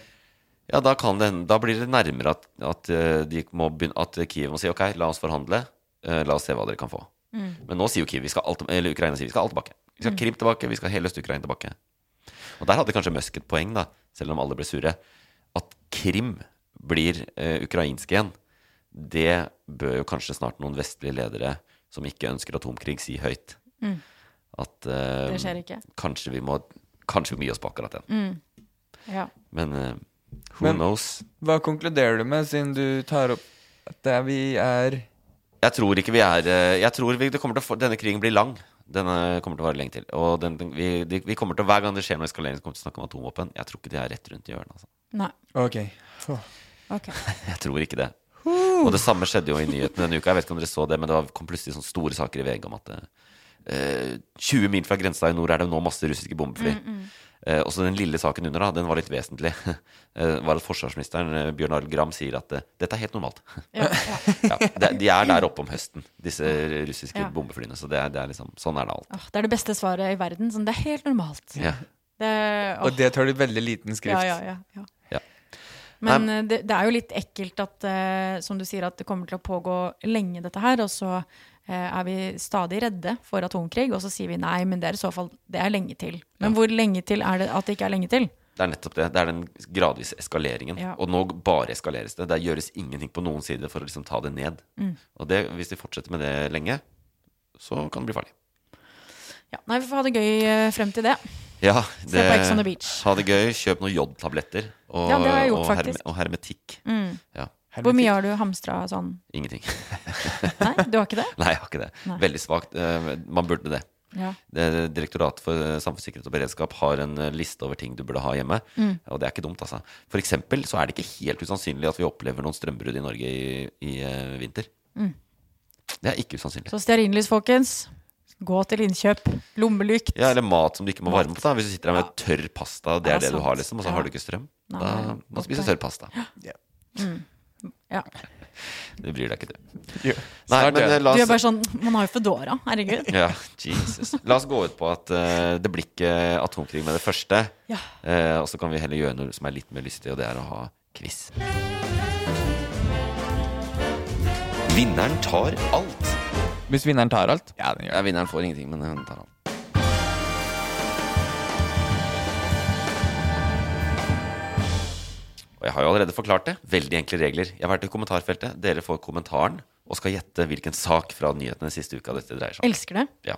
Ja, da, kan det, hende- da blir det nærmere at, at, eh, de må begynne, at Kiev må si ok, la oss forhandle, eh, la oss se hva dere kan få.
Mm.
Men nå sier jo Kiev, vi skal alt, eller Ukraina sier vi skal alt tilbake. Vi skal Krim tilbake, vi skal hele Øst-Ukraina tilbake. Og der hadde kanskje Musk et poeng, da, selv om alle ble sure. At Krim blir eh, ukrainsk igjen, det bør jo kanskje snart noen vestlige ledere som ikke ønsker atomkrig, si høyt. At eh,
Mm. Det skjer ikke. Mm.
kanskje vi må Kanskje vi må gi oss på akkurat den.
Ja.
Men eh, who
Men-
knows?
Hva konkluderer du med, siden du tar opp at det er vi er
Jeg tror ikke vi er eh, Jeg tror vi, det kommer til å få, Denne krigen blir lang. Denne kommer til å vare lenge til. Og den, den, vi, de, vi kommer til, Hver gang det skjer noe eskalering, så kommer vi til å snakke om atomvåpen. Jeg tror ikke det er rett rundt i hjørnet. Altså.
Nei.
Ok.
Ok.
Jeg tror ikke det. Og det samme skjedde jo i nyhetene denne uka. Jeg vet ikke om dere så det, men det var- kom plutselig sånne store saker i VG om at eh, 20 mil fra grensa i nord er det nå masse russiske bombefly. Eh, også den lille saken under, da, den var litt vesentlig. [LAUGHS] Eh, var at forsvarsministeren eh, Bjørn Arild Gram sier at eh, dette er helt normalt.
Ja, ja.
ja, de, de er der oppe om høsten, disse russiske
Ja.
bombeflyene. Så det er, det er liksom, sånn er det alt.
Åh, det er det beste svaret i verden. Sånn, det er helt normalt.
Ja.
Det, åh,
Og det tar du veldig liten skrift.
ja, ja, ja, ja.
Ja.
Men
Nei.
eh, det, det er jo litt ekkelt at, eh, som du sier, at det kommer til å pågå lenge, dette her. Og så eh, er vi stadig redde for atomkrig, og så sier vi nei, men det er i så fall det er lenge til. Men hvor lenge til er det at det ikke er lenge til?
Det er nettopp det. Det er den gradvise eskaleringen.
Ja.
Og nå bare eskaleres det. Det gjøres ingenting på noen side for å liksom ta det ned.
Mm.
Og det, hvis de fortsetter med det lenge, så kan det bli farlig.
Ja, nei, vi får ha det gøy eh, frem til det.
Ja,
Se på Ex on the Beach.
Ha det gøy. Kjøp noen jodtabletter. Og,
Ja, det har jeg gjort,
og, herme,
faktisk. Mm.
og hermetikk. Ja,
Hvor mye har du hamstra sånn?
ingenting. [LAUGHS]
Nei, du har ikke det?
Nei, jeg har ikke det.
Nei.
Veldig svakt. Eh, Man burde det.
Ja.
Det- Direktoratet for eh, samfunnssikkerhet og beredskap har en eh, liste over ting du burde ha hjemme.
Mm.
Og det er ikke dumt, altså. For eksempel så er det ikke helt usannsynlig at vi opplever noen strømbrudd i Norge i, i eh, vinter. Det er ikke usannsynlig.
Mm. Så stearinlys, folkens. Gå til innkjøp. Lommelykt.
Ja, eller mat som du ikke må varme opp. da Hvis du sitter der med tørr pasta, det
Ja,
er det du
sant.
har, liksom, og så
Ja.
har du ikke strøm.
Nei,
Da må
godt
du spise
poeng.
tørr pasta.
Ja.
[LAUGHS] Det bryr deg ikke, du.
Jo.
Nei,
Snart
men
er
eh,
det.
la
Du er bare
oss
sånn Man har jo Foodora,
[LAUGHS]
herregud.
ja, Jesus. La oss gå ut på at eh, det blir ikke atomkrig med det første.
Ja.
Eh, og så kan vi heller gjøre noe som er litt mer lystig, og det er å ha quiz. Vinneren tar alt.
Hvis vinneren tar alt? Ja, den gjør
Ja, vinneren får ingenting, men hun tar alt. Og jeg har jo allerede forklart det. Veldig enkle regler. Jeg har vært i kommentarfeltet. Dere får kommentaren og skal gjette hvilken sak fra nyhetene siste uka dette dreier seg om.
Elsker det.
Ja.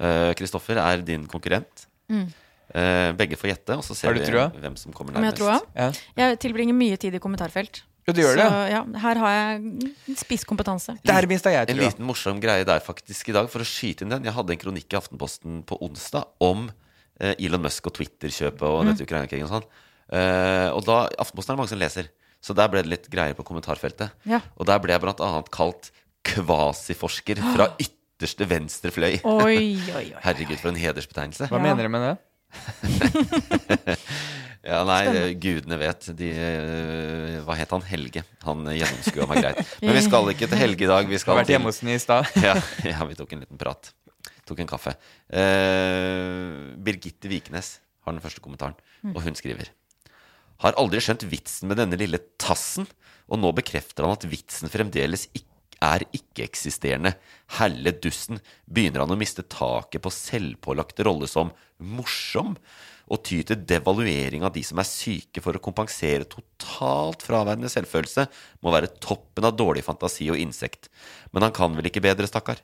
Eh, Kristoffer er din konkurrent. Eh, begge får gjette, og så ser
Har du
vi
trua?
hvem som kommer
Mm. Om jeg
nærmest.
tror jeg.
Ja.
Jeg tilbringer mye tid i kommentarfelt.
Jo, du gjør det, ja.
Så, ja, her har jeg spisskompetanse.
Der mista jeg
En
trua.
liten morsom greie der faktisk i dag, for å skyte inn den. Jeg hadde en kronikk i Aftenposten på onsdag om eh, Elon Musk og Twitter-kjøpet og
Mm.
dette Ukraina-krigen og sånn. Eh, og da, Aftenposten er det mange som leser, så der ble det litt greier på kommentarfeltet.
Ja.
Og der ble jeg blant annet kalt kvasiforsker
[GASPS]
fra ytterste venstre fløy.
Oi, oi, oi.
Herregud, for en hedersbetegnelse.
Hva
Ja.
mener du med det?
Ja, nei, gudene vet. De, eh, hva het han? Helge. Han gjennomskua meg greit. Men vi skal ikke til Helge i dag. Vi
Jeg har
skal
vært hjemme hos den i stad.
[LAUGHS] ja, ja, vi tok en liten prat. Tok en kaffe. Eh, Birgitte Vikenes har den første kommentaren, og hun skriver Har aldri skjønt vitsen med denne lille tassen, og nå bekrefter han at vitsen fremdeles ikke er ikke-eksisterende. Helle dussen. Begynner han å miste taket på selvpålagte roller som morsom? Og ty til devaluering av de som er syke for å kompensere totalt fraværende selvfølelse, må være toppen av dårlig fantasi og insekt. Men han kan vel ikke bedre, stakkar?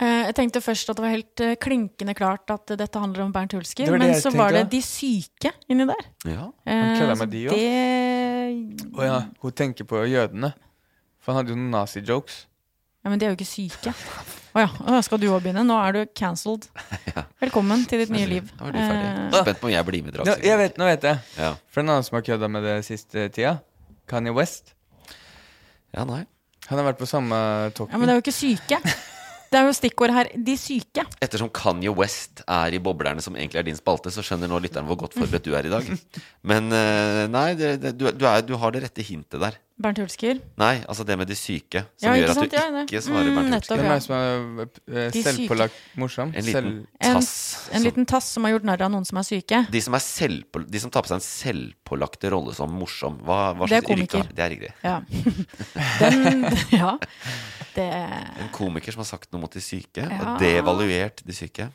Eh, Jeg tenkte først at det var helt eh, klinkende klart at eh, dette handler om Bernt Hulsker,
Det var det
men
jeg
så
tenkte
var det
også.
de syke inni der.
Ja.
Han kødda
Eh,
med de
så det-
Å ja, hun tenker på jødene. For han hadde jo noen nazi-jokes.
Ja, men de er jo ikke syke. Å ja. Å, skal du òg begynne? Nå er du
[LAUGHS]
cancelled. Velkommen til ditt nye liv.
Da var du ferdig.
Eh,
Spent på om jeg blir med i
Nå, jeg
dragsuget.
vet, nå vet jeg.
Ja.
For en annen som har kødda med det siste tida, Kanye West,
ja, nei.
han har vært på samme
ja, men det
talken.
er jo ikke syke. Det er jo stikkord her. De syke.
Ettersom Kanye West er i boblerne som egentlig er din spalte, så skjønner nå lytteren hvor godt forberedt du er i dag. Men eh, nei, det, det, du, du, er, du har det rette hintet der.
Bernt Hulsker.
Nei, altså det med de syke,
Ja,
som
ikke
gjør at
sant?
du
Ja, det-
ikke svarer
Mm,
Bernt
nettopp,
Hulsker.
Hvem
ja.
er det som er eh,
De syke.
selvpålagt morsom?
En liten
Selv-
En-
tass.
En
som-
liten tass som har gjort narr av noen som er syke.
de, som er selvpå, de som tar på seg en selvpålagt rolle som morsom, hva, hva
Det er
slags yrke
komiker.
har- Det er riktig.
Ja. [LAUGHS] Den, [LAUGHS] ja. Det
En komiker som har sagt noe mot de syke,
Ja.
og devaluert de syke.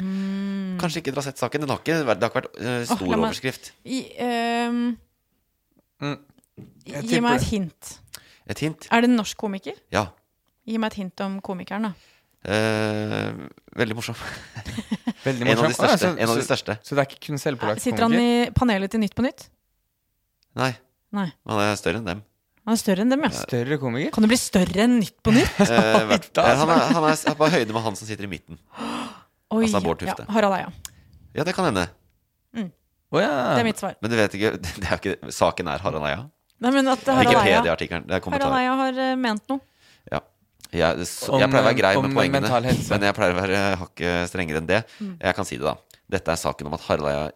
mm.
Kanskje ikke dere har sett saken. Den har ikke, vært- det har ikke vært eh,
Åh,
stor
la meg-
overskrift.
i, ehm,
Mm. Jeg
Gi
tipper
meg et
det.
hint.
Et hint?
Er det en norsk komiker?
Ja.
Gi meg et hint om komikeren, da.
Eh, veldig morsom.
Veldig
En av de
morsom. Å, ja,
største.
Ah, så-
En av de
så,
største.
så det er ikke kun selvpålagt
Sitter han
komiker?
i panelet til Nytt på Nytt?
Nei,
Nei.
han er større
[LAUGHS]
enn dem.
Han er større enn dem, ja.
Større komiker?
Kan det bli større enn Nytt
[LAUGHS]
på Nytt?
Eh, hvert-
da,
han, er, han er på høyde med han som sitter i midten.
Oi,
Altså, Bård
ja.
Tufte.
Harald Eia.
Ja, det kan hende.
Å
Det
ja.
er mitt svar.
Men du vet ikke, [LAUGHS] det er jo ikke saken er Harald Eia.
Nei, men at Harald Eia,
Wikipedia-artikkelen. Det er
Harald
kommentaren.
Eia har eh, ment noe.
Jeg, så,
Om,
jeg pleier å være grei
eh,
med
om
poengene,
mental helse.
men jeg pleier å være hakket strengere enn det. Jeg kan si det, da. Dette er saken om at Harald Eia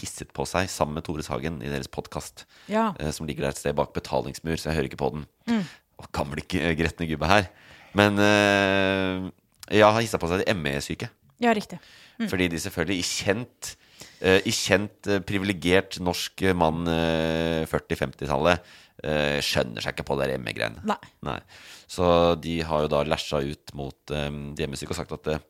hisset på seg sammen med Tore Sagen i deres podkast,
Ja.
som ligger der et sted bak betalingsmur, så jeg hører ikke på den. Og gamle g- gretne gubbe her. Men eh, ja, han hissa på seg de ME-syke.
ja, riktig.
Fordi de selvfølgelig i kjent eh, I kjent eh, privilegert norsk eh, mann eh, 40-50-tallet eh, skjønner seg ikke på det der ME-greiene.
Nei.
Så de har jo da lasha ut mot eh, de ME-syke og sagt at eh,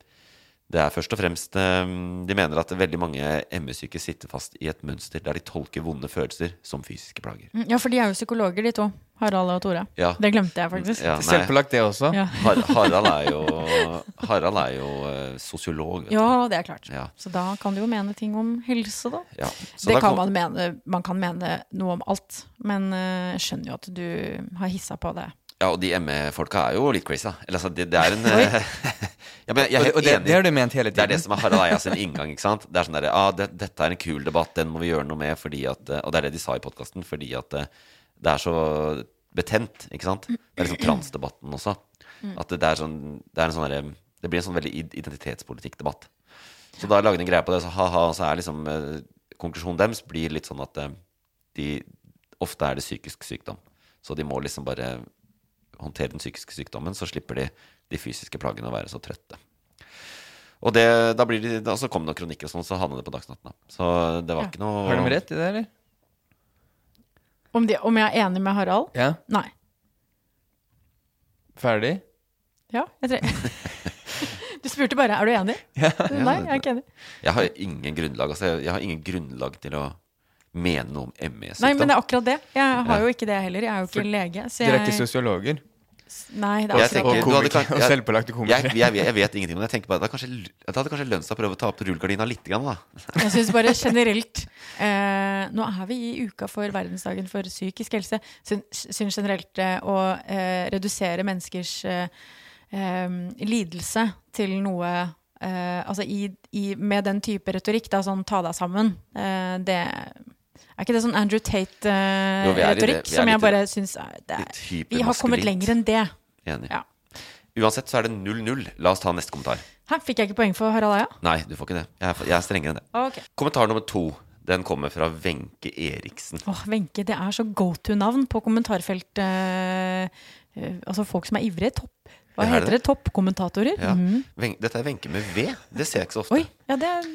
det er først og fremst eh, De mener at veldig mange ME-syke sitter fast i et mønster der de tolker vonde følelser som fysiske plager.
Mm, Ja, for de er jo psykologer, de to. Harald og Tore.
Ja.
Det glemte jeg faktisk.
Ja, nei.
Selvpålagt, det også.
Ja.
Har, Harald er jo, Harald er jo eh, sosiolog, vet
Ja, det er klart.
du. Ja.
Så da kan du jo mene ting om helse, da.
Ja. Så
det
da
kan
kom-
man mene. Man kan mene noe om alt. Men eh, jeg skjønner jo at du har hissa på det.
Ja, og de ME-folka er jo litt crazy, da. Eller altså, det, det er en [LAUGHS] Ja, men jeg er
Og,
helt
og det,
enig.
det har du ment hele
Det er det
tiden.
som er Harald Eia sin inngang. ikke sant? Det er sånn der, ah, det, Dette er en kul debatt, den må vi gjøre noe med. fordi at, eh, Og det er det de sa i podkasten, fordi at eh, det er så betent. ikke sant?
Mm.
Det er liksom transdebatten også. At det, det er sånn, det er en sånn derre- det blir en sånn veldig id- identitetspolitikkdebatt. Så da lagde de en greie på det, så ha-ha, og så er liksom eh, konklusjonen deres blir litt sånn at eh, de ofte er det psykisk sykdom. Så de må liksom bare håndtere den psykiske sykdommen, så slipper de de fysiske plagene å være så trøtte. Og det, da blir de, da, så kom det noen kronikker og sånn, så havna det på Dagsnytt. da. Så det var
Ja.
ikke noe
Har de rett i det, eller?
Om, de, om jeg er enig med Harald?
Ja.
Nei.
Ferdig?
Ja, jeg tror Du spurte bare er du enig. Nei, jeg er ikke enig.
Jeg har ingen grunnlag altså, jeg, jeg har ingen grunnlag til å mene noe om ME-sykdom.
Nei, men det er akkurat det. Jeg har jo ikke det heller. Jeg er jo ikke lege. Så
Dere er ikke
jeg,
sosiologer?
nei, det er
Jeg
akkurat
tenker-
det.
du hadde kan-
og
jeg-
selvpålagte
jeg,
komikere.
jeg, jeg, jeg vet ingenting om det. Jeg tenker bare, Det hadde kanskje, l- det hadde kanskje lønt seg å prøve å ta opp rullegardina litt, grann, da.
Jeg syns bare generelt eh, Nå er vi i uka for verdensdagen for psykisk helse. Syns generelt eh, å eh, redusere menneskers eh, eh, lidelse til noe eh, Altså i, i, med den type retorikk, da, sånn ta deg sammen, eh, det er ikke det sånn Andrew
Jo, vi er i det.
Tate-retorikk
Vi er
som
litt-
jeg bare syns er, det
Litt
er Vi har kommet
hypermaskulint.
lenger enn det.
Enig.
Ja.
Uansett så er det 0-0. La oss ta neste kommentar.
Hæ, fikk jeg ikke poeng for Harald Eia?
Nei, du får ikke det. Jeg er, jeg er strengere enn det.
Ok.
Kommentar nummer to. Den kommer fra Wenche Eriksen.
Åh, Wenche, det er så go to-navn på kommentarfelt eh, eh, Altså folk som er ivrige. Topp.
Ja,
Hva
er det
heter det? Toppkommentatorer?
Ja.
Mhm.
Wen- Dette er Wenche med V. Det ser jeg ikke så ofte.
Oi, ja, det er,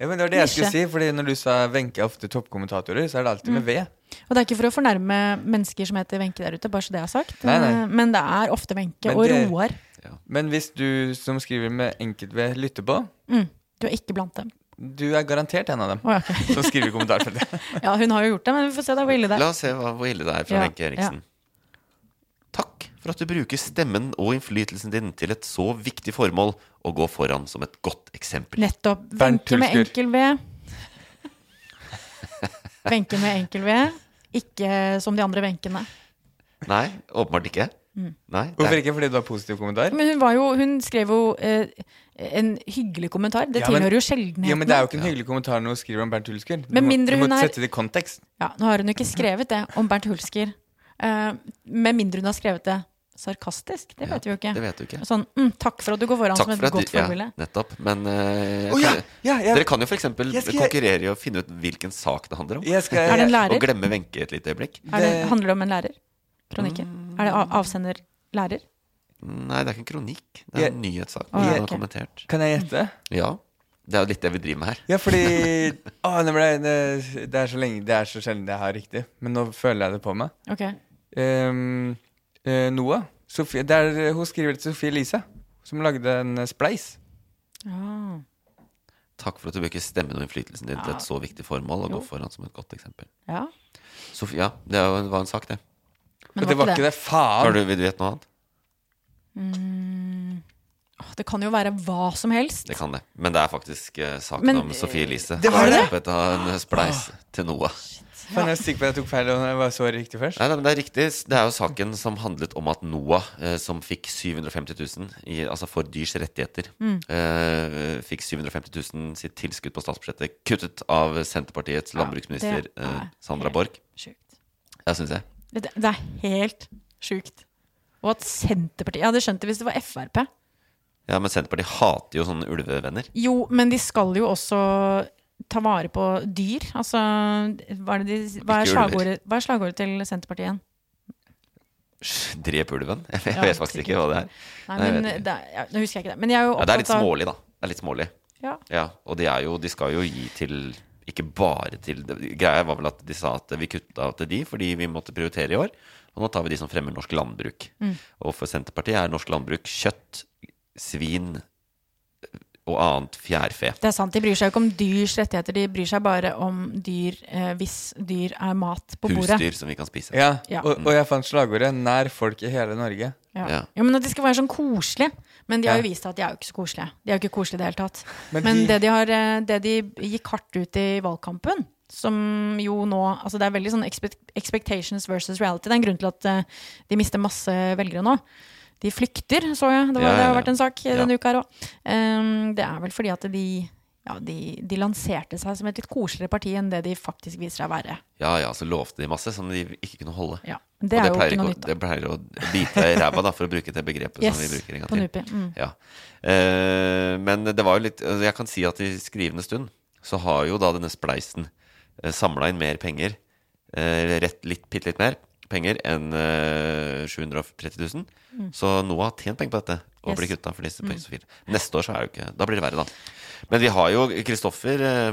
Ja, men det var det jeg skulle
Nisje. Mm.
si, fordi når du sa Wenche er ofte toppkommentatorer, så er det alltid med V.
og det er ikke for å fornærme mennesker som heter Wenche der ute, bare så det er sagt.
Nei, nei.
Eh, Men det er ofte Wenche
Men
og
det-
Roar.
Men hvis du som skriver med enkelt-V lytter på,
Mm. Du er ikke blant dem.
du er garantert en av dem
Å, ja,
[LAUGHS]
ok.
som skriver i kommentarfeltet.
ja, hun har jo gjort det, men vi får se da hvor ille det er.
La oss se hva, hvor ille det er fra
Ja,
Wenche Eriksen. Takk for at du bruker stemmen og innflytelsen din til et så viktig formål og går foran som et godt eksempel.
Nettopp.
Bernt
Wenche med
Hulsker.
enkel V.
[LAUGHS]
Wenche med enkel V. Ikke som de andre Wenchene.
Nei, åpenbart ikke.
Mm.
Nei, det
Hvorfor
er,
ikke? Fordi du har positiv kommentar?
Men hun, var jo, hun skrev jo eh, en hyggelig kommentar. Det
Ja, men-
tilhører jo
Ja, men det er jo
sjeldenheten.
ikke en hyggelig kommentar når hun skriver om Bernt Hulsker. Du
Med
må-
mindre
du
hun
må
er-
sette det i kontekst.
Ja, nå har hun jo ikke skrevet det om Bernt Hulsker. Eh, med mindre hun har skrevet det sarkastisk. Det
Ja,
vet vi jo ikke.
det vet du ikke.
Sånn mm, 'takk for at du går foran
Takk
som et
for at
godt
du ja,
forbilde'.
Nettopp. Men eh, jeg
Å, ja,
kan-
ja, jeg-
dere kan jo f.eks.
Jeg skal-
konkurrere i å finne ut hvilken sak det handler om.
Jeg skal,
Er det en lærer?
Eh, Og glemme Wenche et lite øyeblikk.
Er det,
det-
handler det om en lærer? Kronikken? Er det av, avsender lærer?
Nei, det er ikke en kronikk. Det er en nyhetssak.
Å, ja,
den er
ok.
kommentert.
Kan jeg gjette?
Ja. Det er jo litt det vi driver med her.
Ja, fordi å, nå ble, det, det, er så lenge, det er så sjelden jeg har riktig, men nå føler jeg det på meg.
Ok.
Ehm, eh, Noah. Sofie, det er, hun skriver til Sofie Elise, som lagde en eh, spleis.
Ah.
Takk for at du bruker stemmen og innflytelsen din til
Ja.
et så viktig formål og går foran som et godt eksempel.
Ja.
Sofia, det er jo- var en sak, det.
Men
Og det var ikke det.
Har
Faen!
du, vil du gjette noe annet?
Åh, Det kan jo være hva som helst.
Det kan det. Men det er faktisk eh, saken
Men- eh,
om Sofie Elise.
Det var det?
Opprettet av en spleis
Ah.
til Noah.
Faen, jeg er sikker på at jeg tok feil, og jeg var så riktig først.
Nei, nei, men Det er riktig. Det er jo saken som handlet om at Noah, eh, som fikk 750 000 i, altså for dyrs rettigheter,
Mm.
eh, fikk 750 000 sitt tilskudd på statsbudsjettet kuttet av Senterpartiets landbruksminister
det er
eh, Sandra Borch.
Sjukt.
Jeg syns jeg.
Det, det er helt sjukt. Og at Senterpartiet Jeg hadde skjønt det hvis det var Frp.
Ja, Men Senterpartiet hater jo sånne ulvevenner.
Jo, men de skal jo også ta vare på dyr. Altså, hva er, det de, hva er,
Ikke ulver.
slagordet, hva er slagordet til Senterpartiet igjen?
Sj, Drep ulven? [LAUGHS] Jeg vet,
Ja,
jeg vet faktisk ikke hva det er.
Nei,
Nei, jeg
men
vet ikke.
det, er- ja, nå husker jeg ikke det. Men jeg er jo
Ja, det er litt
opptatt av
smålig, da. Det er litt smålig.
Ja.
Ja, og de, er jo, de skal jo gi til Ikke bare til det- Greia var vel at de sa at vi kutta til de fordi vi måtte prioritere i år. Og nå tar vi de som fremmer norsk landbruk.
Mm.
Og for Senterpartiet er norsk landbruk kjøtt, svin eh, og annet fjærfe.
Det er sant, De bryr seg jo ikke om dyrs rettigheter, de bryr seg bare om dyr eh, hvis dyr er mat på bordet.
Husdyr som vi kan spise.
Ja,
Ja.
Og, og jeg fant slagordet 'nær folk i hele Norge'.
Ja.
Ja.
Ja, men At de skal være sånn koselige. Men de har jo
Ja.
vist at de er jo ikke så koselige. De er jo ikke koselige i det hele tatt.
Men
Men,
de-
det, de har, eh, det de gikk hardt ut i valgkampen, som jo nå Altså det er veldig sånn expect, expectations versus reality. Det er en grunn til at eh, de mister masse velgere nå. De flykter, så jeg. Det, var,
Ja, ja,
det har
ja.
vært en sak eh,
Ja.
denne uka her òg. det er vel fordi at de ja, de, de lanserte seg som et litt koseligere parti enn det de faktisk viser seg å være.
Ja ja, så lovte de masse som de ikke kunne holde.
Ja.
og
Det er
det
jo
pleier,
ikke noe
å-
nytt.
det pleier å bite i ræva, da, for å bruke det begrepet som vi bruker en gang
på
til.
NUPI. Mm.
Ja. Eh, men det var jo litt altså Jeg kan si at i skrivende stund så har jo da denne spleisen eh, samla inn mer penger, eh, rett litt, bitte litt mer penger enn eh, 730 000. Så Noah har tjent penger på dette og
Mm. Yes. Mm.
blir kutta for disse pengene. Neste år så er det jo ikke Da blir det verre, da. Men vi har jo Kristoffer eh,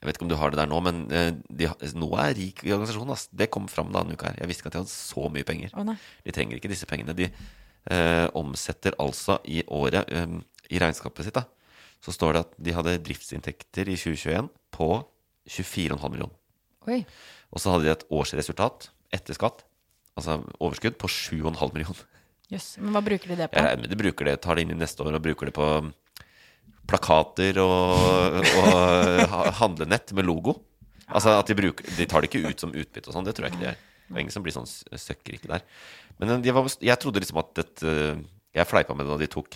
jeg vet ikke om du har det der nå, men eh, de, har- Noah er rik i organisasjonen. Ass. Det kom fram denne uka her. Jeg visste ikke at de hadde så mye penger.
Å, nei.
De trenger ikke disse pengene. De eh, omsetter altså i året eh, I regnskapet sitt da så står det at de hadde driftsinntekter i 2021 på 24,5 millioner.
Oi.
Og så hadde de et årsresultat etter skatt, altså overskudd, på 7,5 millioner.
Jøss. Men hva bruker de det på?
Jeg regner med de bruker det, tar det inn i neste år og bruker det på um, plakater og, og [LAUGHS] ha- handlenett med logo. Altså at de, bruker, de tar det ikke ut som utbytte og sånn, det tror jeg ikke de gjør. Det er ingen som blir sånn s- søkkrike der. Men eh, de var, jeg trodde liksom at dette Jeg fleipa med det da de tok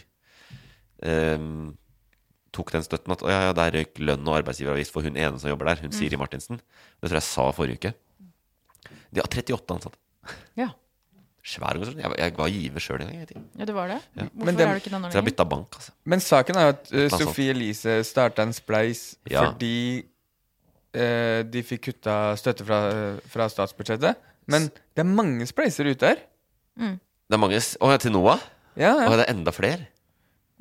ehm, Tok den støtten at å ja, ja, der røyk lønn og arbeidsgiveravgift for hun ene som jobber der,
Mm.
hun Siri Martinsen. Det tror jeg sa forrige uke. De har 38 ansatte.
Ja.
Svær organisasjon. Jeg, jeg var giver sjøl en gang. Jeg vet ikke.
Ja, det var det? Hvorfor
Men dem-
er du ikke den
Så jeg
ordningen?
bytta bank, altså.
Men saken er jo at uh,
Noe sånt.
Sophie Elise starta en spleis
Ja.
fordi eh, de fikk kutta støtte fra, eh, fra statsbudsjettet. Men det er mange spleiser ute her.
Det er mange s- Å, ja, til Noah?
Ja,
Å,
ja.
det er enda flere?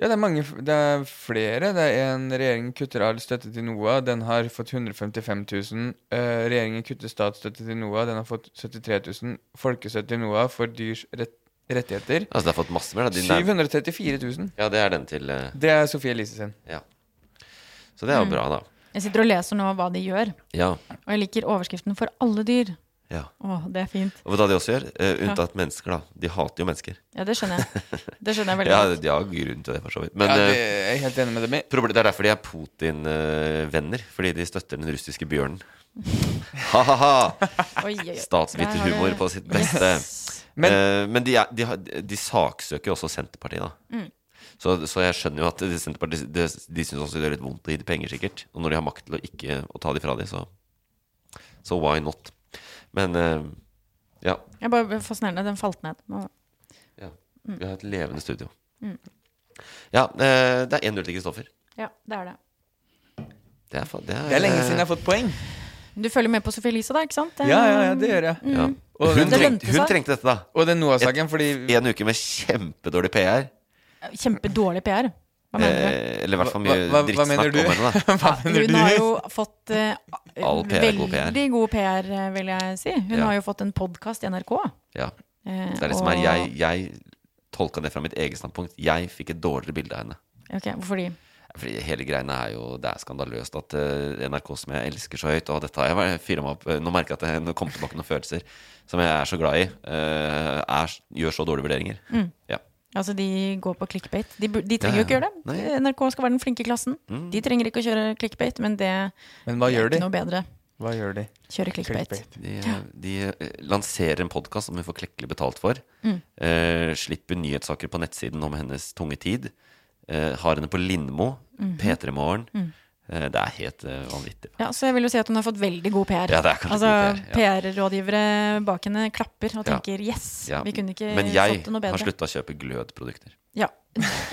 ja det, er mange, f- det er flere. Det er en regjering kutter all støtte til NOAH. Den har fått 155 000. Eh, regjeringen kutter statsstøtte til NOAH. Den har fått 73 000. Folkestøtte til NOAH for dyrs rett rettigheter.
Altså, det har fått masse mer. Da. De nær-
734 000.
Ja, det er den til eh,
Det er Sophie Elise sin.
Ja. Så det er jo bra, da.
Jeg sitter og leser nå hva de gjør,
Ja.
og jeg liker overskriften 'For alle dyr'.
ja.
Å, det er fint.
Og vet du hva de også gjør? Eh, unntatt mennesker, da. De hater jo mennesker.
Ja, det skjønner jeg. Det skjønner jeg veldig
Ja,
godt.
de har grunn til det, for så vidt. Men
Ja, det
eh,
er jeg helt enig med dem i.
proble- det er derfor de er Putin-venner. Fordi de støtter den russiske bjørnen. Ha-ha-ha!
Oi, oi, oi. Der har du-
Statsviterhumor på sitt beste.
Yes.
Men-
Men, Eh, men de, er, de, har- de saksøker jo også Senterpartiet, da.
Mm.
Så, så jeg skjønner jo at de- Senterpartiet de, de syns også det gjør litt vondt å gi de penger, sikkert. Og når de har makt til å ikke å ta de fra de, så Så why not? Men eh, ja.
Jeg er bare fascinerende. Den falt ned. Nå-
ja.
Mm.
Vi har et levende studio. Ja, eh, det er 1-0 til Kristoffer.
Ja, det er det.
Det er, fa- det er,
Det er lenge siden jeg har fått
Eh,
poeng.
Du følger med på Sophie Elise, da? ikke sant?
Ja, ja, ja, det gjør jeg.
ja.
Og
Hun,
den-
Mm. Det
trengte,
lønte
hun
seg.
trengte dette, da.
Og den Noah-saken, fordi
En uke med kjempedårlig PR.
Eh, Kjempedårlig PR. Hva mener du?
Eh, eller i hvert fall
Hva-
mye
hva- hva
drittsnakk
mener du?
om henne. Da.
[LAUGHS] Hva mener
Hun har
du?
jo fått eh,
All PR er god PR.
veldig god PR, eh, vil jeg si. Hun
Ja.
har jo fått en podkast i NRK.
Ja.
eh,
Det er liksom det som er
og-
Jeg, jeg tolka det fra mitt eget standpunkt. Jeg fikk et dårligere bilde av henne.
Ok, Hvorfor de?
Fordi hele greiene er jo Det er skandaløst at eh, NRK, som jeg elsker så høyt Og dette har jeg bare fyret meg opp eh, Nå merker jeg at jeg nå kom tilbake noen følelser som jeg er så glad i, eh, er, gjør så dårlige vurderinger. Ja.
Altså, de går på clickbait. De, bur- de
Ja,
trenger jo ikke
ja.
gjøre det.
Nei. Mm.
NRK skal være den flinke klassen. De trenger ikke å kjøre clickbait, men det
Men hva
er
gjør de?
ikke noe bedre.
Hva gjør de?
Kjøre clickbait.
Clickbait.
De, de eh, lanserer en podkast som hun får klekkelig betalt for. Eh, slipper nyhetssaker på nettsiden om hennes tunge tid. Eh, har henne på Lindmo, P3 Morgen. Eh, det er helt eh, vanvittig.
Ja, så jeg vil jo si at hun har fått veldig god PR.
Ja, det er kanskje
altså,
god PR,
PR-rådgivere bak henne klapper og
Ja.
tenker 'yes,
Ja,
vi kunne ikke
Men jeg
fått det noe
har
bedre'.
slutta å kjøpe glødprodukter.
Ja.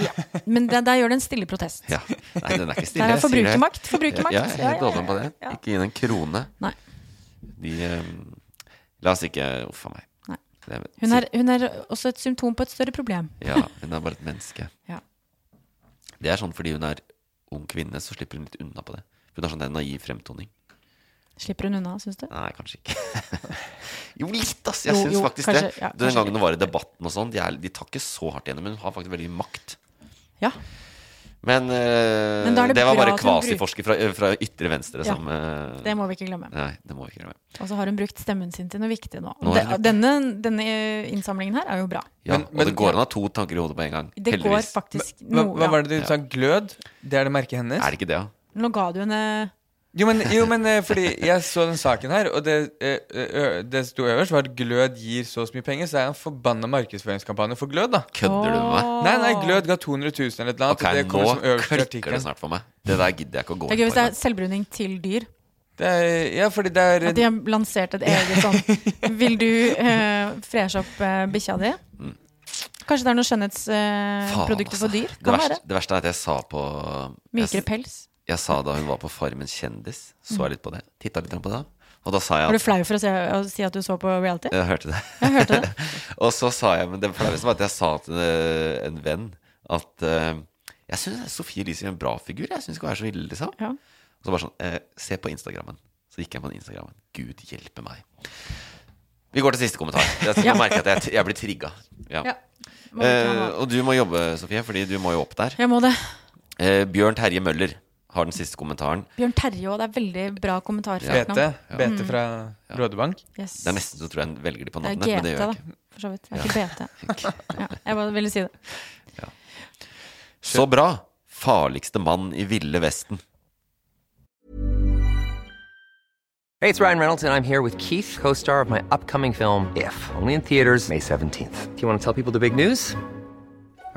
ja. Men der, der gjør det en stille protest.
Ja. Nei, den er
[LAUGHS]
ikke [LAUGHS] stille.
Der er
jeg sier det.
forbrukermakt. forbrukermakt.
Ja, jeg er helt åpen på det.
ja.
Ikke gi den en krone.
Nei.
De eh, La oss ikke Uff a meg.
Nei.
Det-
Hun, er, hun er også et symptom på et større problem.
Ja, hun er bare et menneske.
[LAUGHS] Ja.
Det er sånn fordi hun er ung kvinne, så slipper hun litt unna på det. For Hun har sånn en naiv fremtoning.
Slipper hun unna, syns du?
Nei, kanskje ikke. [LAUGHS] jo, litt, ass! Jeg
Jo,
syns
jo,
faktisk
kanskje,
det.
ja,
Den
kanskje
gangen
litt.
hun var i debatten og sånn, de, er- de tar ikke så hardt igjennom, men hun har faktisk veldig mye makt.
Ja.
Men, eh,
Men da er
det,
det
var
bra
bare
at hun
kvasiforsker fra, eh, fra ytre venstre
Ja,
som eh,
Det må vi ikke glemme.
Nei, det må vi ikke gjøre.
Og så har hun brukt stemmen sin til noe viktig nå.
Nå
De,
er det-
denne, denne eh, innsamlingen her er jo bra.
Ja,
Men-
og
men-
det går an å ha to tanker i hodet på en gang.
Det går
heldigvis.
faktisk
Hva,
noe
hva
ja.
var det du sa? Glød? Det er det merket hennes?
Er det ikke det, da?
Nå ga du henne
Jo, men, jo, men eh, fordi jeg så den saken her, og det, eh, ø- det sto øverst var at Glød gir så og så mye penger, så er det en forbanna markedsføringskampanje for Glød, da.
Kødder du med meg?
Nei, nei, Glød ga 200 000 eller et eller annet.
Ok,
og det
nå
kommer som øverst i
klikker det
artikkelen.
snart for meg. Det der gidder jeg ikke å gå
Det er
inn på.
gøy hvis det
engang.
er selvbruning til dyr.
Det er, ja, fordi det er
At de har lansert et eget
[LAUGHS]
sånn Vil du eh, freshe opp eh, bikkja di? Kanskje det er
Mm. Faen,
noen skjønnhetsprodukter
altså.
for dyr?
Det
Kan
verste,
være.
det verste er at jeg sa på
Mykere
jeg,
pels.
jeg sa da hun var på Farmen kjendis, så jeg litt på det. Titta litt på det. Og da sa jeg
Var
at
Mm. du flau for å si, å si at du så på
[LAUGHS]
reality?
Jeg hørte det.
Jeg hørte det.
og så sa jeg Men det flaueste var at jeg sa til eh, en venn at eh, jeg syns Sofie Elise gjør en bra figur. Jeg syns ikke hun er så ille, liksom.
Ja.
Og så bare sånn eh, Se på Instagrammen. Så gikk jeg på den Instagrammen. Gud hjelpe meg. Vi går til siste kommentar. Jeg,
[LAUGHS] Ja.
jeg merker at jeg, jeg blir trigga. Ja.
Ja. Må vi ta
Eh,
nå?
og du må jobbe, Sofie, fordi du må jo opp der.
Jeg må det.
Eh, Bjørn Terje Møller har den siste kommentaren.
Bjørn Terje òg. Det er veldig bra kommentar.
BT,
fra Vietnam.
BT fra Rådebank.
Yes.
Det er nesten så tror jeg han velger de på
Det er
navnet,
GT,
men det gjør jeg ikke.
da. For så vidt. Det er ikke BT. Ja, jeg bare ville si det.
Så bra! Farligste mann i ville Vesten.
Hey, it's Ryan Reynolds, and I'm here with Keith, co star of my upcoming film, If, only in theaters, May 17th. Do you want to tell people the big news?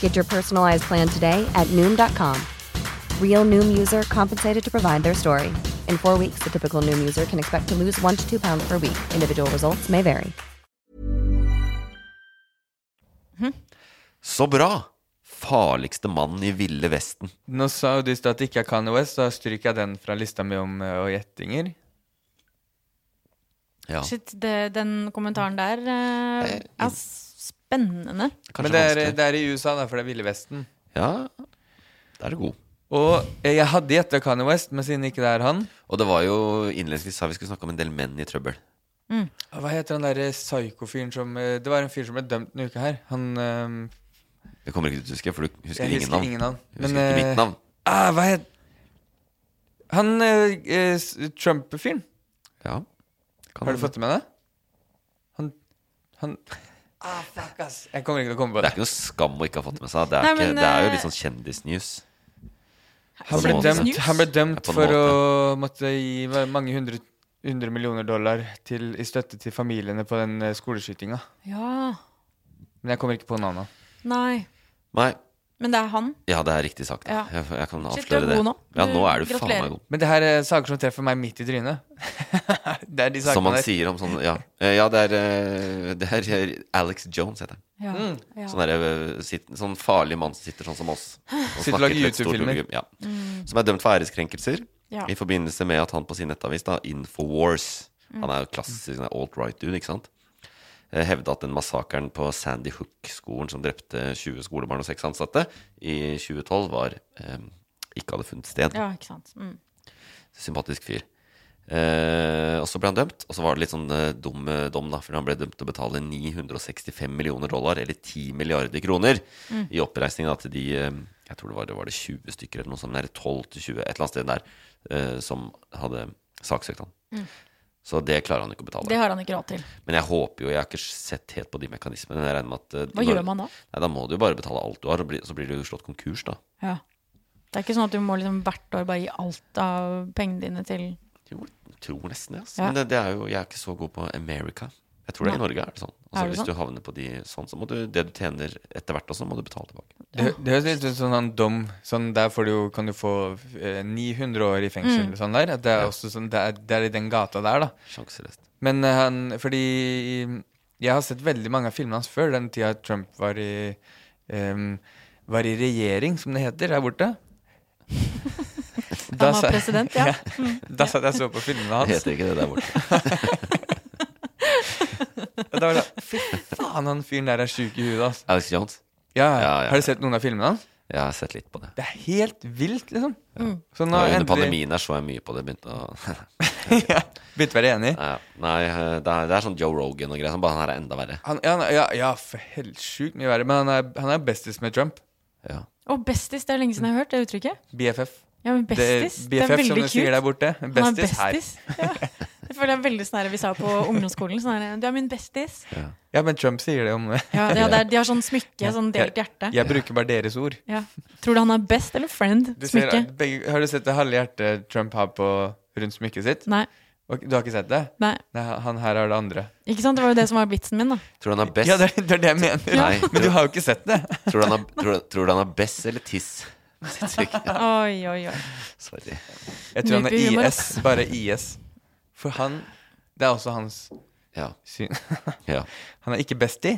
Get your personalized plan today at Noom.com. Real Noom user compensated to provide their story. In four weeks, the typical Noom user can expect to lose one to two pounds per week. Individual results may vary.
Så bra! Farligste mannen i ville vesten.
Nå sa jo du i stad at det ikke er Kanye West, da stryker jeg den fra lista mi om eh, og gjettinger.
Ja.
Shit, det, den kommentaren der eh, er spennende.
Men det er, eh, det er i USA, da, for det er Ville Vesten.
Ja, da er du god.
Og eh, jeg hadde gjetta Kanye West, men siden ikke det er han
Og det var jo innledningsvis sa vi skulle snakke om en del menn i trøbbel.
Ah, Hva heter han derre psyko-fyren som eh, Det var en fyr som ble dømt denne uka her. Han eh,
Det kommer ikke til å huske, for du husker,
Jeg
ingen,
husker
navn.
ingen navn.
Du husker
Men,
ikke
eh,
mitt navn.
ah, hva het Han eh, eh, s- Trump-fyren.
Ja.
Har du fått det med deg? Han Han Ah, fuck, ass. Jeg kommer ikke til å komme
Det
på det.
er ikke noe skam å ikke ha fått det med seg. Det er,
Nei,
ikke,
men,
det er jo
eh,
litt sånn kjendisnews.
Han
På en
ble
måte.
dømt, han ble
Ja,
dømt
på en
for å
måte.
måtte gi hva- mange hundre, hundre millioner dollar til, i støtte til familiene på den eh, skoleskytinga.
Ja.
Men jeg kommer ikke på navnet.
Nei.
Nei.
Men det er han.
Ja, det er riktig sagt.
Ja.
Jeg, jeg kan avsløre
Shit, du er
det.
god nå.
Ja,
Du-
nå er du faen
gratulerer.
meg god.
Men det her er saker som treffer meg midt i trynet. [LAUGHS] det er de sakene
Som man
der.
sier om sånn Ja, Eh, ja det, er, eh, det er Alex Jones, heter han.
Ja, Mm. ja.
Sånn, der, eh, sitt- sånn farlig mann som sitter sånn som oss.
Sitter og
snakker
lager
til et stort
YouTube-filmer.
publikum, Ja.
Mm.
Som er dømt for æreskrenkelser
Ja.
i forbindelse med at han på sin nettavis, da, Infowars
Mm.
Han er jo klassisk sånn alt-right-dude, ikke sant? Eh, Hevda at den massakren på Sandy Hook-skolen som drepte 20 skolebarn og seks ansatte i 2012, var eh, ikke hadde funnet sted
Ja, ikke sant. Mm.
sympatisk fyr. Eh, og så ble han dømt, og så var det litt sånn eh, dum eh, dom, da, for han ble dømt til å betale 965 millioner dollar, eller 10 milliarder kroner,
Mm.
i oppreisning da, til de eh, Jeg tror det var, det var det 20 stykker eller noe sånt, eller 12 til 20, et eller annet sted der, eh, som hadde saksøkt han.
Mm.
Så det klarer han ikke å betale.
Det har han ikke råd til.
Men jeg håper jo, jeg har ikke sett helt på de mekanismene. men Jeg regner med at eh,
Hva
når-
gjør man da?
Nei, Da må du jo bare betale alt du har, og bli, så blir du jo slått konkurs, da.
Ja. Det er ikke sånn at du må liksom hvert år bare gi alt av pengene dine til
Jeg tror nesten det. ass.
Ja.
Men det, det er jo, jeg er ikke så god på America. Jeg tror det er i
Nei.
Norge er det sånn. Altså,
Er det
hvis
sånn?
du havner på de sånn, så må du det du tjener etter hvert også, må du betale tilbake.
Det, det høres litt ut som en dom. Sånn der får du, jo- kan du få eh, 900 år i fengsel.
Mm.
Sånn der. At det, er også sånn, det, er, det er i den gata der, da.
Sjanseløst.
Men eh, han Fordi eh, jeg har sett veldig mange av filmene hans før den tida Trump var i em, Var i regjering, som det heter der borte.
var
sa-
president, ja. Mm.
[LAUGHS] Da satt jeg og så på filmene hans.
Det heter ikke det der borte.
Og da var det sånn, Fy faen, han fyren der er sjuk i huet, ass.
Alex Jones?
Ja,
Ja, ja.
Har du sett noen av filmene hans?
Jeg har sett litt på det.
Det er helt vilt, liksom.
Og
Mm.
Så nå
under
[LAUGHS] endelig
pandemien her så jeg mye på det. Begynte å [LAUGHS]
Begynte å være enig?
Ja, ja. nei, eh, det er, det er sånn Joe Rogan og greier. Sånn, bare han her er enda verre.
han, ja, han, ja, ja, for helt sjukt mye verre. Men han er, han er bestis med Trump.
Å, bestis, det er lenge siden jeg har hørt det uttrykket.
BFF.
Ja, men bestis, det, er
BFF,
veldig
som du
kult.
sier der borte.
Han er
Bestis her.
bestis. [LAUGHS] Ja. Det føler jeg er veldig sånn her vi sa på ungdomsskolen. Sånn her, du er min bestis.
Ja.
men Trump sier det om
Ja, det, det er, de har sånn smykke, sånn delt
Jeg-
hjerte.
[LAUGHS] Jeg bruker bare deres ord.
Ja. Tror du han er best eller friend?
Du ser,
Smykke.
begge, har du sett det halve hjertet Trump har på rundt smykket sitt?
Nei.
Og, du har ikke sett det?
Nei.
Han her har det andre.
Ikke sant? Det var jo det som var vitsen min, da.
Tror du han er best?
Ja, det er det, er det jeg mener.
Nei,
[LAUGHS] men du har jo ikke sett det.
Tror du han er, tror, tror du han er best eller tiss?
[LAUGHS] Oi, oi, oi.
Sorry.
Jeg tror han er
Nypehumor,
IS.
ass.
Bare IS. For han Det er også hans syn.
[LAUGHS] Ja.
Han er ikke bestie.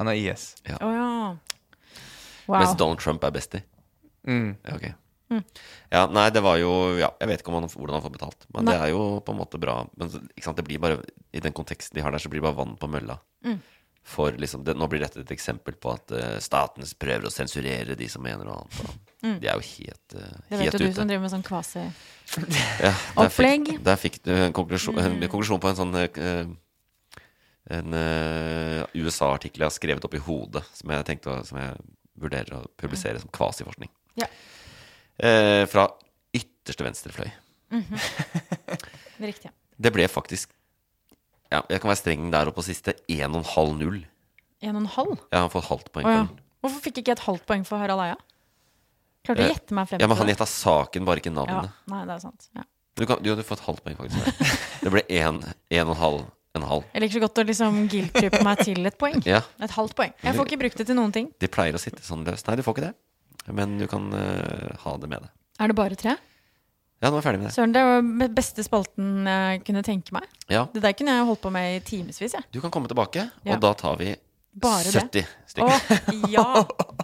Han er IS.
Ja.
Å ja. Wow.
Mens Donald Trump er bestie.
Mm.
Ja, ok.
Mm.
Ja, nei, det var jo ja, Jeg vet ikke om han, hvordan han får betalt, men det
Nei.
er jo på en måte bra. Men så- ikke sant, det blir bare, i den konteksten de har der, så blir det bare vann på mølla.
Mm.
For liksom, det, Nå blir dette et eksempel på at eh, staten prøver å sensurere de som mener noe annet. og
Mm.
De er jo helt, eh,
Det
helt
vet jo du
ute.
som driver med sånn kvasi...
Ja, der fikk-
Opplegg.
Der fikk du en konklusjon, en
Mm.
konklusjon på en sånn eh, En eh, USA-artikkel jeg har skrevet opp i hodet, som jeg, tenkte, å- som jeg vurderer å publisere som kvasiforskning.
Ja.
Eh, fra ytterste venstre fløy.
Mhm. Det er Riktig.
Det ble faktisk ja, Jeg kan være streng der oppe på siste. 1,5-0.
En og en halv?
Jeg har fått halvt poeng.
Å, ja.
på den.
Hvorfor fikk ikke jeg et halvt poeng for Harald Eia? Klarte å
Eh,
gjette meg frem
Ja, men
til
Han
det.
gjetta saken, bare ikke navnet.
Ja, nei, det er sant. Ja.
Du, kan, du hadde fått halvt poeng, faktisk.
[LAUGHS]
Det ble 1,5. En halv.
Jeg liker så godt å liksom guilt-trippe meg til et
[LAUGHS]
poeng.
Ja.
Et halvt poeng. Jeg får ikke brukt det til noen ting.
De pleier å sitte sånn løst. Nei, du får ikke det. Men du kan eh, ha det med deg.
Er det bare tre?
Ja, nå er jeg ferdig med det.
Søren, det var den beste spalten jeg kunne tenke meg.
Ja.
Det der kunne jeg holdt på med i timevis, jeg.
Du kan komme tilbake,
Ja.
og da tar vi
Bare
70
det.
stykker.
Å,
[LAUGHS]
ja.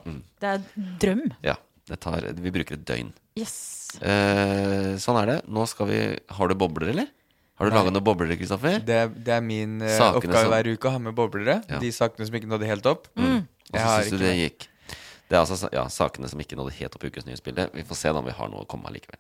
Mm.
Det er drøm.
Ja, det tar, vi bruker et døgn.
Yes.
Eh, sånn er det. Nå skal vi Har du bobler, eller? Har du
Nei.
laga noen bobler, Kristoffer?
Det, er- det er min eh,
Sakene
oppgave
som-
hver uke å ha med boblere.
Ja.
De sakene som ikke nådde helt opp.
Mm. Og så
Jeg
syns
har
du
ikke
det
det.
gikk. Det er altså sa- ja, sakene som ikke nådde helt opp i ukens nyhetsbilde. Vi får se da om vi har noe å komme med likevel.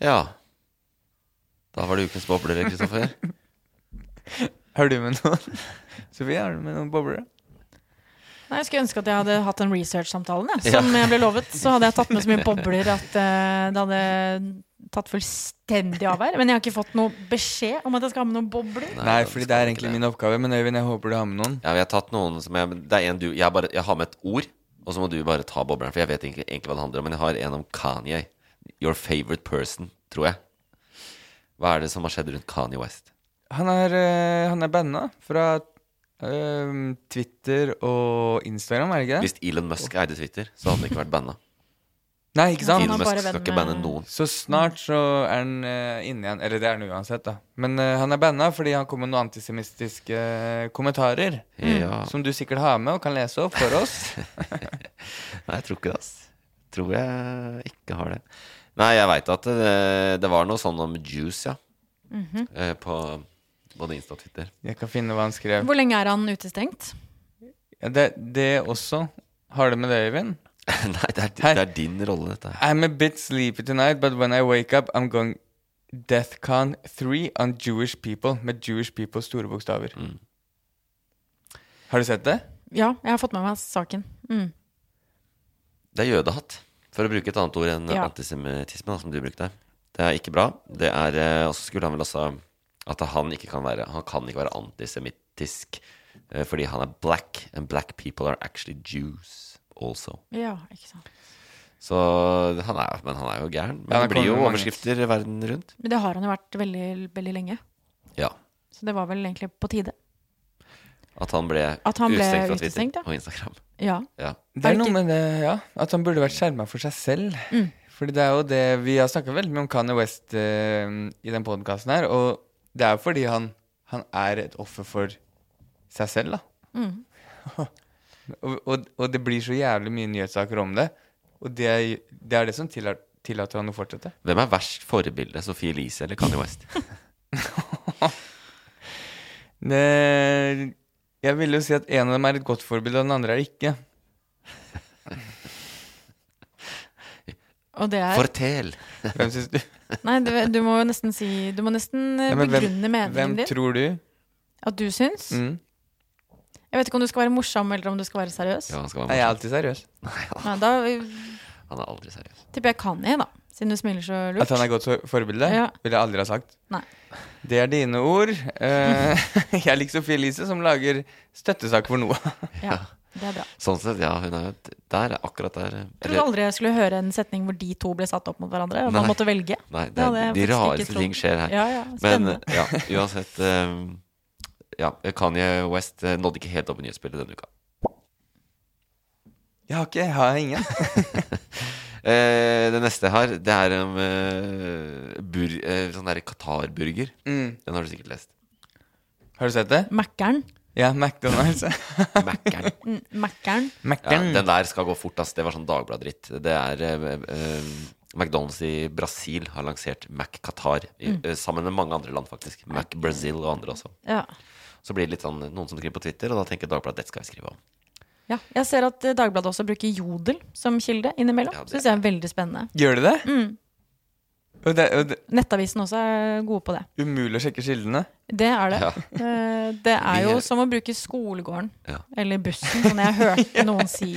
Ja. Da var det ukens bobler, Kristoffer.
Har du med noen? [LAUGHS] Sofie, har du med noen boblere?
Nei, jeg skulle ønske at jeg hadde hatt den research-samtalen jeg,
Ja.
som jeg ble lovet. Så hadde jeg tatt med så
[LAUGHS]
mye bobler at eh, det hadde tatt fullstendig av her. Men jeg har ikke fått noe beskjed om at jeg skal ha med noen bobler.
Nei, fordi det er egentlig min oppgave. Men Øyvind, jeg håper du har med noen.
Ja, vi har tatt noen som jeg, Det er en du jeg, bare, jeg har med et ord, og så må du bare ta bobleren. For jeg vet egentlig, egentlig hva det handler om, men jeg har en om Kanye. Your favorite person, tror jeg. Hva er det som har skjedd rundt Kanye West?
Han er, eh, han er banna fra eh, Twitter og Instagram, er det ikke det?
Hvis Elon Musk eide Twitter, så hadde han ikke vært banna.
Nei, ikke sant?
Elon Han er Musk bare skal venn ikke banne med- noen.
Så snart så er han eh, inne igjen. Eller det er han uansett, da. Men eh, han er banna fordi han kom med noen antisemittiske eh, kommentarer.
Ja.
Som du sikkert har med og kan lese opp for oss.
Nei, jeg tror ikke det, ass. Tror jeg ikke har det. Nei, jeg veit at det, det var noe sånn om juice, ja.
Mhm.
Eh, På både Insta og Twitter.
Jeg kan finne hva han skrev.
Hvor lenge er han utestengt?
Ja, Det, det også. Har det med det, Øyvind?
[LAUGHS] Nei, det er, din rolle, dette her.
I'm a bit sleepy tonight, but when I wake up, I'm going Deathcon 3 on Jewish people, med Jewish people store bokstaver. Har du sett det?
Ja, jeg har fått med meg saken. Mm.
Det er jødehatt, for å bruke et annet ord enn
Ja.
antisemittisme, da, som du brukte. Det er ikke bra. Det er eh, Og så skulle han vel også At han ikke kan være Han kan ikke være antisemittisk eh, fordi han er black, and black people are actually Jews also.
Ja, ikke sant.
Så han er, men han er jo gæren. Men
Ja,
det
det
blir jo
kommer mange.
overskrifter verden rundt.
Men det har han jo vært veldig, veldig lenge.
Ja.
Så det var vel egentlig på tide.
At han ble
At han ble
utestengt fra
utestengt,
Twitter
ja.
og Instagram.
Ja.
Ja.
Det er noe med det, ja. At han burde vært skjerma for seg selv.
Mm.
Fordi det er jo det Vi har snakka veldig mye om Kanye West eh, i den podkasten her, og det er jo fordi han, han er et offer for seg selv, da.
Mm.
[LAUGHS] og, og, og det blir så jævlig mye nyhetssaker om det. Og det er, det, er det som tillater, tillater han å fortsette.
Hvem er verst forbilde? Sophie Elise eller Kanye
[LAUGHS]
West?
Det, Eh, jeg ville jo si at en av dem er et godt forbilde, og den andre er det ikke.
Og det er
Fortell!
Hvem
[LAUGHS]
syns du?
Nei, du, du må jo nesten si Du må nesten eh,
Ja, men hvem-
begrunne meningen
Hvem
din.
tror du?
At du syns.
Mm.
Jeg vet ikke om du skal være morsom, eller om du skal være seriøs.
Ja, han skal være
Nei, jeg er
morsom.
alltid seriøs.
Nei, da eh,
Han er aldri seriøs.
tipper jeg Kanye, da. Siden du smiler så lurt.
At han er godt for- forbilde?
Ja.
Ville jeg aldri ha sagt.
Nei.
Det er dine ord. Eh, [LAUGHS] jeg liker Sophie Elise, som lager støttesak for noe.
Ja, det er bra.
Sånn sett, ja. Hun er jo et- der, akkurat der.
Jeg trodde aldri jeg skulle høre en setning hvor de to ble satt opp mot hverandre. Og man
Nei.
måtte velge.
Nei, det,
Det hadde
er,
jeg
de
faktisk ikke
rareste
trodd.
ting skjer her.
Ja, ja,
Men
spennende. [LAUGHS]
ja, uansett um, Ja, Kanye West eh, nådde ikke helt opp i nyhetsbildet denne uka.
Jeg har ikke, jeg har ingen.
Eh, det neste jeg har, det er om eh, bur, eh, sånn derre Qatar-burger.
Mm.
Den har du
[LAUGHS]
sikkert lest.
Har du sett det?
Mækkern.
Ja, McDonald's.
[LAUGHS]
Mækkern.
Mm, Mækkern.
Ja,
Mækkern.
den der skal gå fort, ass. Det var sånn Dagblad-dritt. Det er eh, eh, McDonald's i Brasil har lansert Mac Qatar, i-
Mm.
eh, sammen med mange andre land, faktisk. Mac Brazil og andre også.
Ja.
Så blir det litt sånn noen som skriver på Twitter, og da tenker Dagbladet dette skal jeg skrive om.
Ja, jeg ser at eh, Dagbladet også bruker Jodel som kilde innimellom.
Ja, det-
Synes jeg er veldig spennende.
Gjør du det?
Mm.
Og det, og det
Nettavisen også er gode på det.
Umulig å sjekke kildene.
Det er det.
Ja.
Eh, Det er
Vi
jo
er-
som å bruke skolegården
Ja.
eller bussen, som jeg
[LAUGHS]
hørte [LAUGHS] noen si.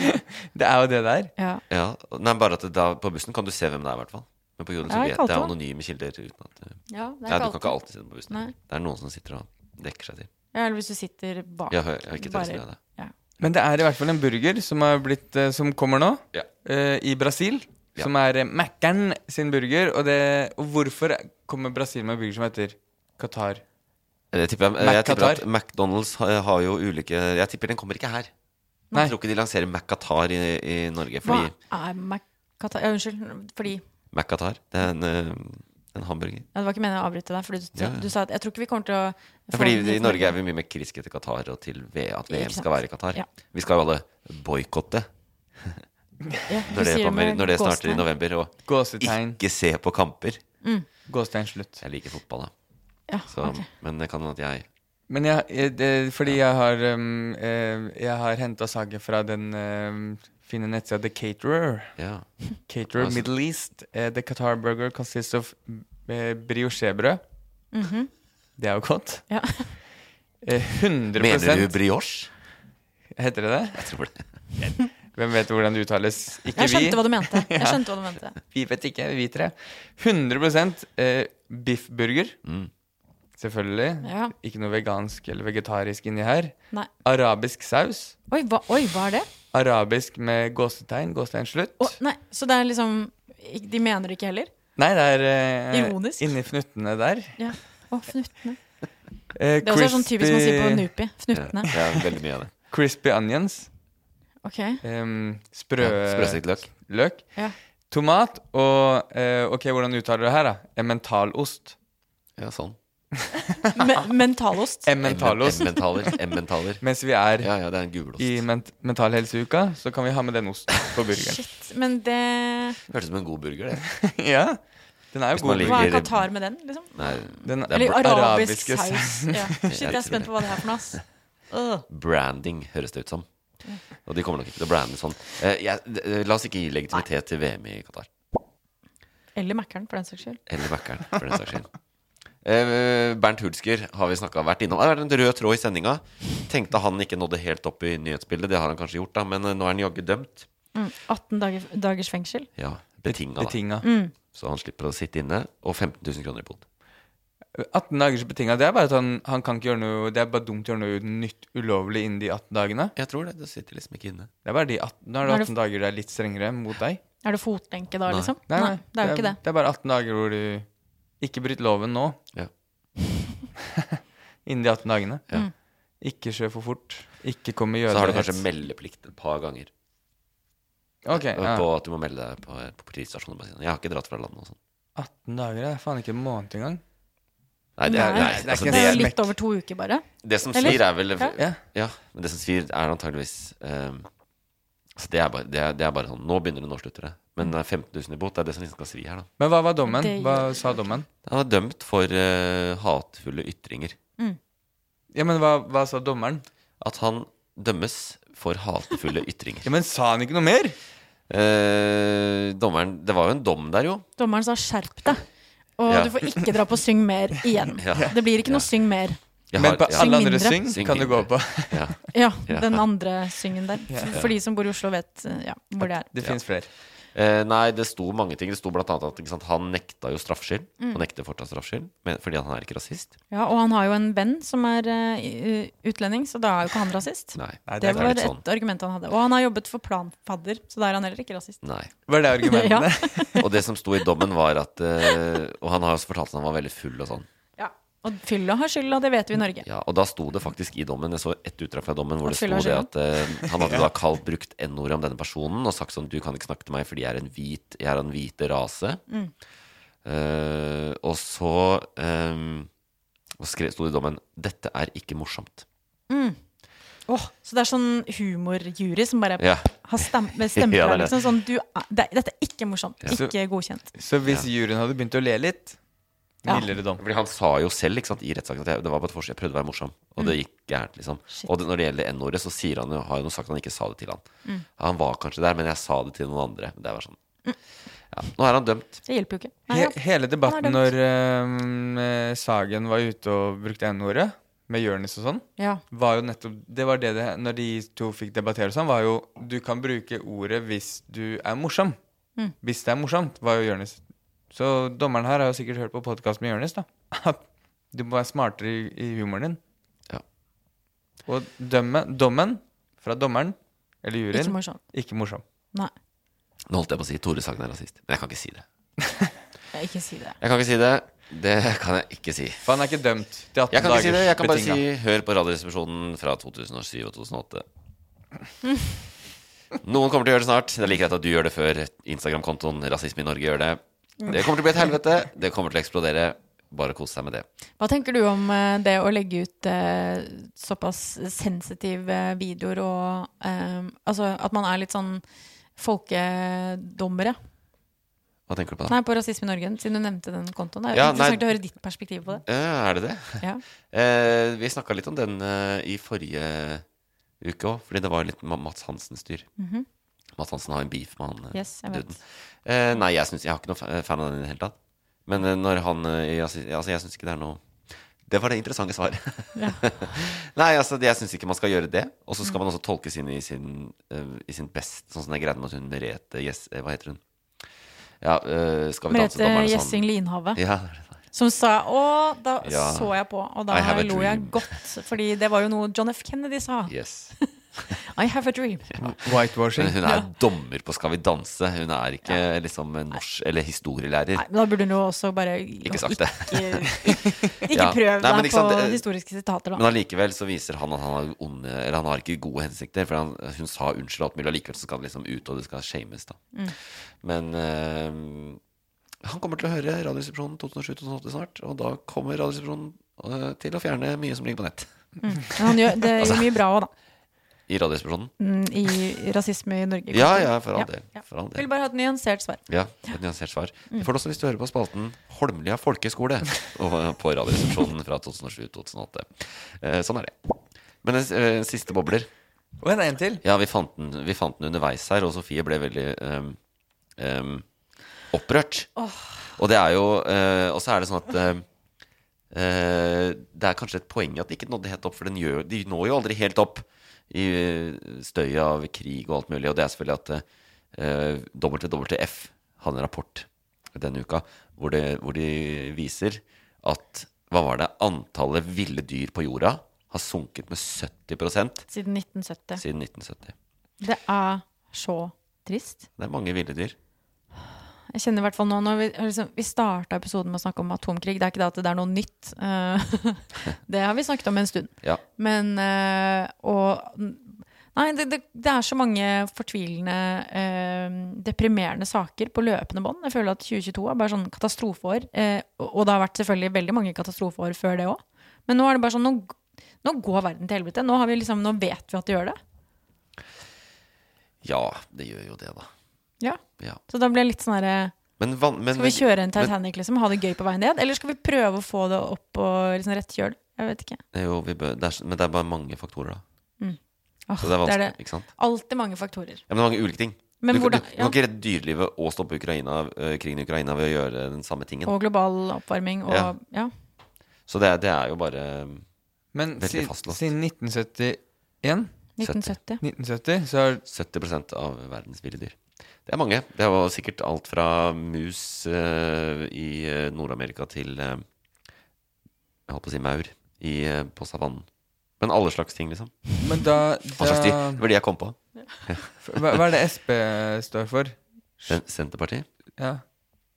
Det er jo det der.
Ja.
Ja, Nei, bare at det da, på bussen kan du se hvem det er, i hvert fall. Men på Jodel så
Ja,
blir
ikke
det er
alltid.
anonyme kilder. Uten at, eh,
Ja, det er
nei,
ikke
du kan ikke
alltid.
alltid se dem på bussen.
Nei.
Det er noen som sitter og dekker seg til.
Ja, eller hvis du sitter bak.
Jeg har, jeg har ikke
Bare-
tørst med det.
Ja.
Men det er i hvert fall en burger som, har blitt, eh, som kommer nå,
Ja.
eh, i Brasil. som er eh, Mac'ern sin burger. Og, det, og hvorfor kommer Brasil med en burger som heter Qatar?
Det tipper Eh, jeg,
Mac
jeg tipper at
Qatar?
McDonald's har, har jo ulike Jeg tipper den kommer ikke her. Jeg tror ikke de lanserer Mac-Qatar i, i Norge.
Hva
Fordi
er Macata... Ja, unnskyld, fordi
Mac-Qatar, det er en, eh, en hamburger.
ja, Det var ikke meningen å avbryte deg, fordi du,
Ja, ja.
du sa at jeg tror ikke vi kommer til å
Ja,
få
fordi
den
i
hit, men-
Norge er vi mye mer kritiske til Qatar og til V- at VM
Ikke sant.
skal være i Qatar.
Ja.
Vi skal jo alle boikotte
du
når, det
sier det
kommer-
med
når det starter i
gåsetegn.
november. Og
Gåsetegn.
ikke se på kamper.
Mm.
Gåstein slutt.
Jeg liker fotball, da.
Ja,
Så, Men det kan hende at jeg
Men jeg, jeg- det, fordi jeg har, um, eh, jeg har henta saker fra den um, fine nettsida The Caterer.
Ja.
Caterer
Altså-
Middle East. Eh, the Qatar burger consists of eh, briochebrød.
Mhm.
Det er jo godt.
Ja.
Eh, 100
Mener du brioche?
Heter det det?
Jeg tror det.
Hvem vet hvordan det uttales? Ikke
Jeg
vi.
skjønte hva du
[LAUGHS]
mente. Jeg skjønte hva du mente.
Vi vet ikke, vi tre. 100 eh, biffburger.
Mm.
Selvfølgelig.
Ja.
Ikke noe vegansk eller vegetarisk inni her.
Nei.
Arabisk saus.
Oi, hva, oi, hva er det?
Arabisk med gåsetegn. Gåsetegn slutt.
Å, nei, så det er liksom ik- De mener det ikke heller?
Nei, det er eh,
Ironisk.
inni fnuttene der.
Ja. Å, fnuttene.
Eh,
Det er også sånn typisk man sier på Nupi. Fnuttene.
Ja, ja, veldig mye av det.
Crispy onions.
Ok.
Em, sprø...
Ja, sprøstekt løk.
løk.
Ja.
Tomat og eh, Ok, hvordan uttaler du det her, da? Emmentalost.
Ja, sånn.
Me- mentalost.
Emmentalost.
Emmentaler. Emmentaler.
Mens vi er
Ja, ja, det er en gulost.
i ment Mental Helseuka, så kan vi ha med den osten
[LAUGHS]
på burgeren.
Shit. Men det
Hørtes ut som en god burger, det.
ja, den er
Hvis
jo
man
god.
liker-
Hva er
Ligger-
Qatar med den, liksom?
Nei,
Den
Det er
Eller
bra-
arabisk
arabiske
saus. Ja. Shit,
Jeg
jeg er spent
tror
på hva det er for noe, ass. Øh.
branding, høres det ut som. Og de kommer nok ikke til å brande sånn. Eh, jeg, d- la oss ikke gi legitimitet til VM i Qatar.
Eller Mækkern, for den saks skyld.
Eller Mækkern, for den saks skyld. Eh, Bernt Hulsker har vi snakket, vært innom. Det har vært en rød tråd i sendinga. Tenkte han ikke nådde helt opp i nyhetsbildet. Det har han kanskje gjort, da, men eh, nå er han jaggu dømt.
Mm. 18 dager, dagers fengsel.
Ja, betinga, da.
Betinga.
Mm.
Så han slipper å sitte inne. Og 15 000 kroner i bot.
18 dagers betinga, det er bare at han, han kan ikke gjøre noe Det er bare dumt å gjøre noe nytt ulovlig innen de 18 dagene.
Jeg tror det. Du sitter liksom ikke inne.
Det er bare de 18, nå er
Nå
det
er det
18 dager det er litt strengere mot deg.
Er det fotlenke da,
Nei.
liksom? Nei, det er jo ikke det.
Det er bare 18 dager hvor du Ikke bryt loven nå.
Ja.
[LAUGHS] Innen de 18 dagene.
Ja. Mm.
Ikke kjør for fort. Ikke kom med
Så har du
jødehets.
kanskje meldeplikt et par ganger. eh,
Ok, ja.
På at du må melde deg på, eh, på politistasjonen. Bare si, Jeg har ikke dratt fra landet og sånn.
18 dager det er faen ikke en måned engang.
Nei, det er,
Nei.
nei,
Det er
altså,
ikke
Det er
en
jo
det,
litt over to uker, bare.
det som
Eller?
svir, er vel
Ja.
Ja.
Ja, men det som svir, er antageligvis ehm, Så det er, bare, det, er, det er bare sånn Nå begynner det, nå slutter det. Men det er 15 000 i bot, det er det som liksom skal svi her, da.
Men hva var dommen?
Det
Hva
gjør-
sa dommen?
Han er dømt for eh, hatefulle ytringer.
Ja, men hva, hva sa dommeren?
At han dømmes for [LAUGHS] hatefulle ytringer.
Ja, Men sa han ikke noe mer?
Eh, dommeren Det var jo en dom der, jo.
Dommeren sa 'skjerp deg', og
Ja.
du får ikke dra på 'syng mer' igjen.
Ja.
Det blir ikke
Ja.
noe 'syng mer'.
Jeg
Men på
ja,
alle
Syng
andre
mindre.
syng,
Syng
kan du gå
mindre.
på. [LAUGHS]
ja.
Ja,
Ja.
den andre syngen der.
Ja.
For de som bor i Oslo, vet eh, ja, hvor det er.
Det fins flere.
Eh, nei, det sto mange ting. Det sto blant annet at ikke sant, han nekta jo straffskyld.
Mm.
Og nekter fortsatt straffskyld men- fordi han er ikke rasist.
Ja, og han har jo en venn som er eh, i- utlending, så da er jo ikke han rasist.
Nei,
Nei,
Det
det
var
litt
et
sånn.
argument han hadde. Og han har jobbet for Planfadder, så da er han heller ikke rasist.
Nei.
Var det argumentene?
[LAUGHS]
Og det som sto i dommen, var at eh, Og han har også fortalt at han var veldig full og sånn.
Ja. Og fylla har skylda, det vet vi i Norge.
Ja, og da sto det faktisk i dommen, jeg så ett utdrag fra dommen, hvor det
At
sto
fylla
det
skylda?
at eh, han hadde da kalt brukt n-ordet om denne personen og sagt sånn Du kan ikke snakke til meg fordi jeg er en hvit, jeg er av den hvite rase. Eh, og så um, og skre, sto det i dommen Dette er ikke morsomt.
Åh, så det er sånn humorjury som bare
Ja.
har
[LAUGHS]
stem stemmer
Ja, det er
her,
det.
liksom. Sånn, du, er- det, dette er ikke morsomt. Ikke godkjent.
[LAUGHS] Så hvis juryen hadde begynt å le litt,
Ja.
mildere dom.
Fordi han sa jo selv ikke sant, i rettssaken at jeg, det var bare et forsøk, jeg prøvde å være morsom, og det gikk gærent. liksom
Shit.
Og det, når det gjelder n-ordet, så sier han jo, har jo noe sagt han ikke sa det til han. Han var kanskje der, men jeg sa det til noen andre. Det var sånn ja, Nå er han dømt.
Det hjelper jo ikke. Nei,
He
ja.
hele debatten
Han er
når ehm, eh, Sagen var ute og brukte N-ordet, med Jonis og sånn,
Ja.
var jo nettopp Det var det det Når de to fikk debattere og sånn, var jo Du kan bruke ordet hvis du er morsom.
Mm.
Hvis det er morsomt, var jo Jonis. Så dommeren her har jo sikkert hørt på podkast med Jonis, da. [LAUGHS] At du må være smartere i, i humoren din.
Ja.
Og dømme, dommen fra dommeren, eller
Ikke
juryen,
morsomt.
ikke morsom.
Nei.
Nå holdt jeg på å si Tore Sagen er rasist, men jeg kan ikke si det.
Ikke si det.
Jeg kan ikke si det. Det kan jeg ikke si.
For han er ikke dømt til 18
Jeg kan ikke si det.
dagers
Jeg kan bare si
betinga.
hør på Radioresepsjonen fra 2007 og
[LAUGHS]
2008. Noen kommer til å gjøre det snart. Det er like greit at du gjør det før Instagram-kontoen Rasisme i Norge gjør det.
Mm.
Det kommer til å bli et helvete. Det kommer til å eksplodere. Bare kos deg med det.
Hva tenker du om eh, det å legge ut eh, såpass sensitive eh, videoer og eh, Altså at man er litt sånn folkedommere?
Hva tenker du på da?
Nei, på Rasisme i Norge, siden du nevnte den kontoen. Det er
Ja,
interessant
nei.
å høre ditt perspektiv på det.
Ja, er det det?
Ja.
Eh, vi snakka litt om den eh, i forrige uke òg, fordi det var litt Ma- Mats Hansen-styr.
Mhm.
Mats Hansen har en beef med han eh,
Yes, jeg vet.
duden. Eh, nei, jeg, synes, jeg har ikke noe fa- fan av den i det hele tatt. Men eh, når han eh, jeg, sy- Altså, jeg syns ikke det er noe Det var det interessante svaret. [LAUGHS] nei, altså, jeg syns ikke man skal gjøre det. Og så skal
Mm.
man også tolkes inn i sin, eh, i sin best, sånn som den greia med at hun Merete Gjess... eh, Hva heter hun? Ja, eh, skal vi danse
Merete
dommerne sånn?
Gjessing Linhave.
Ja, det er det.
Som sa Å, da
Ja.
så jeg på, og da
I have a
lo jeg
dream.
godt. Fordi det var jo noe John F. Kennedy sa.
Yes.
I have a dream.
Whitewashing.
Men hun er dommer på Skal vi danse. Hun er ikke liksom en norsk eller historielærer.
Nei, men da burde hun jo også bare
Ikke sagt det.
Ikke,
[LAUGHS]
ikke
Ja.
prøv
Nei,
deg
men ikke sant,
på
det-
historiske sitater,
Men
da.
allikevel så viser han at han har, onde, eller han har ikke gode hensikter. For han, hun sa unnskyld og alt mulig, allikevel så skal det liksom ut, og det skal shames, da.
Mm.
Men eh, han kommer til å høre Radioresepsjonen 2007-2008 snart, og da kommer Radioresepsjonen eh, til å fjerne mye som ligger på nett.
Mm. Men han gjør, det
Altså-
gjør mye bra òg, da.
I Radioresepsjonen.
Mm, I rasisme i Norge.
Ja,
kanskje.
ja, for all del. For all
Vil
del.
bare Mm. ha et nyansert svar.
Ja, et nyansert svar. Det får du også hvis du hører på spalten Holmlia
[LAUGHS]
folkeskole og- eh, på Radioresepsjonen fra 2007-2008. Eh, Sånn er det. Men den s- eh, siste bobler.
Og en er en til.
Ja, vi fant den, vi fant den underveis her, og Sofie ble veldig ehm, ehm, opprørt. Og det er jo eh, Og så er det sånn at ehm, eh, det er kanskje et poeng at de ikke nådde helt opp, for den gjør, de når jo aldri helt opp i eh, støy av krig og alt mulig. Og det er selvfølgelig at eh, WWF hadde en rapport denne uka hvor, det, hvor de viser at hva var det, antallet ville dyr på jorda har sunket med 70
Siden 1970.
siden 1970.
Det er så trist.
Det er mange ville dyr.
Jeg kjenner i hvert fall nå når Vi, liksom, vi starta episoden med å snakke om atomkrig. Det er ikke det at det er noe nytt. eh, [LAUGHS] det har vi snakket om en stund.
Ja.
Men eh, Og Nei, det, det, det er så mange fortvilende, eh, deprimerende saker på løpende bånd. Jeg føler at 2022 er bare sånn katastrofeår. eh, og, og det har vært selvfølgelig veldig mange katastrofeår før det òg. Men nå er det bare sånn nå, g- nå går verden til helvete. Nå, har vi liksom, nå vet vi at det gjør det.
Ja, det gjør jo det, da.
Ja.
Ja.
Så da blir jeg litt sånn herre
Men, van, men
Skal vi kjøre en Titanic, liksom? Ha det gøy på veien ned? Eller skal vi prøve å få det opp på liksom, rett kjøl? Jeg vet ikke.
Men, jo, vi bør, det er, s- men det er bare mange faktorer, da.
Mm. Åh,
Så det er vanskelig,
det.
ikke sant?
Alltid mange faktorer.
Ja, men det er mange ulike ting.
Men
du, kan-
hvordan-
du, du
ja.
kan ikke redde dyrelivet og stoppe Ukraina, øh, krigen i Ukraina ved å gjøre den samme tingen.
Og global oppvarming og
Ja.
ja.
Så det, er- det er jo bare um,
Men
veldig
siden,
fastlåst.
siden 1971
1970.
1970, så har
70 av verdens ville dyr. Det er mange. Det var sikkert alt fra mus øh, i øh, Nord-Amerika til øh, Jeg holdt på å si maur i, øh, på savannen. Men alle slags ting, liksom.
Men da,
Hva slags dyr?
da
Det var de jeg kom på.
hva, hva er det SP står for?
Sen- Senterpartiet?
Ja.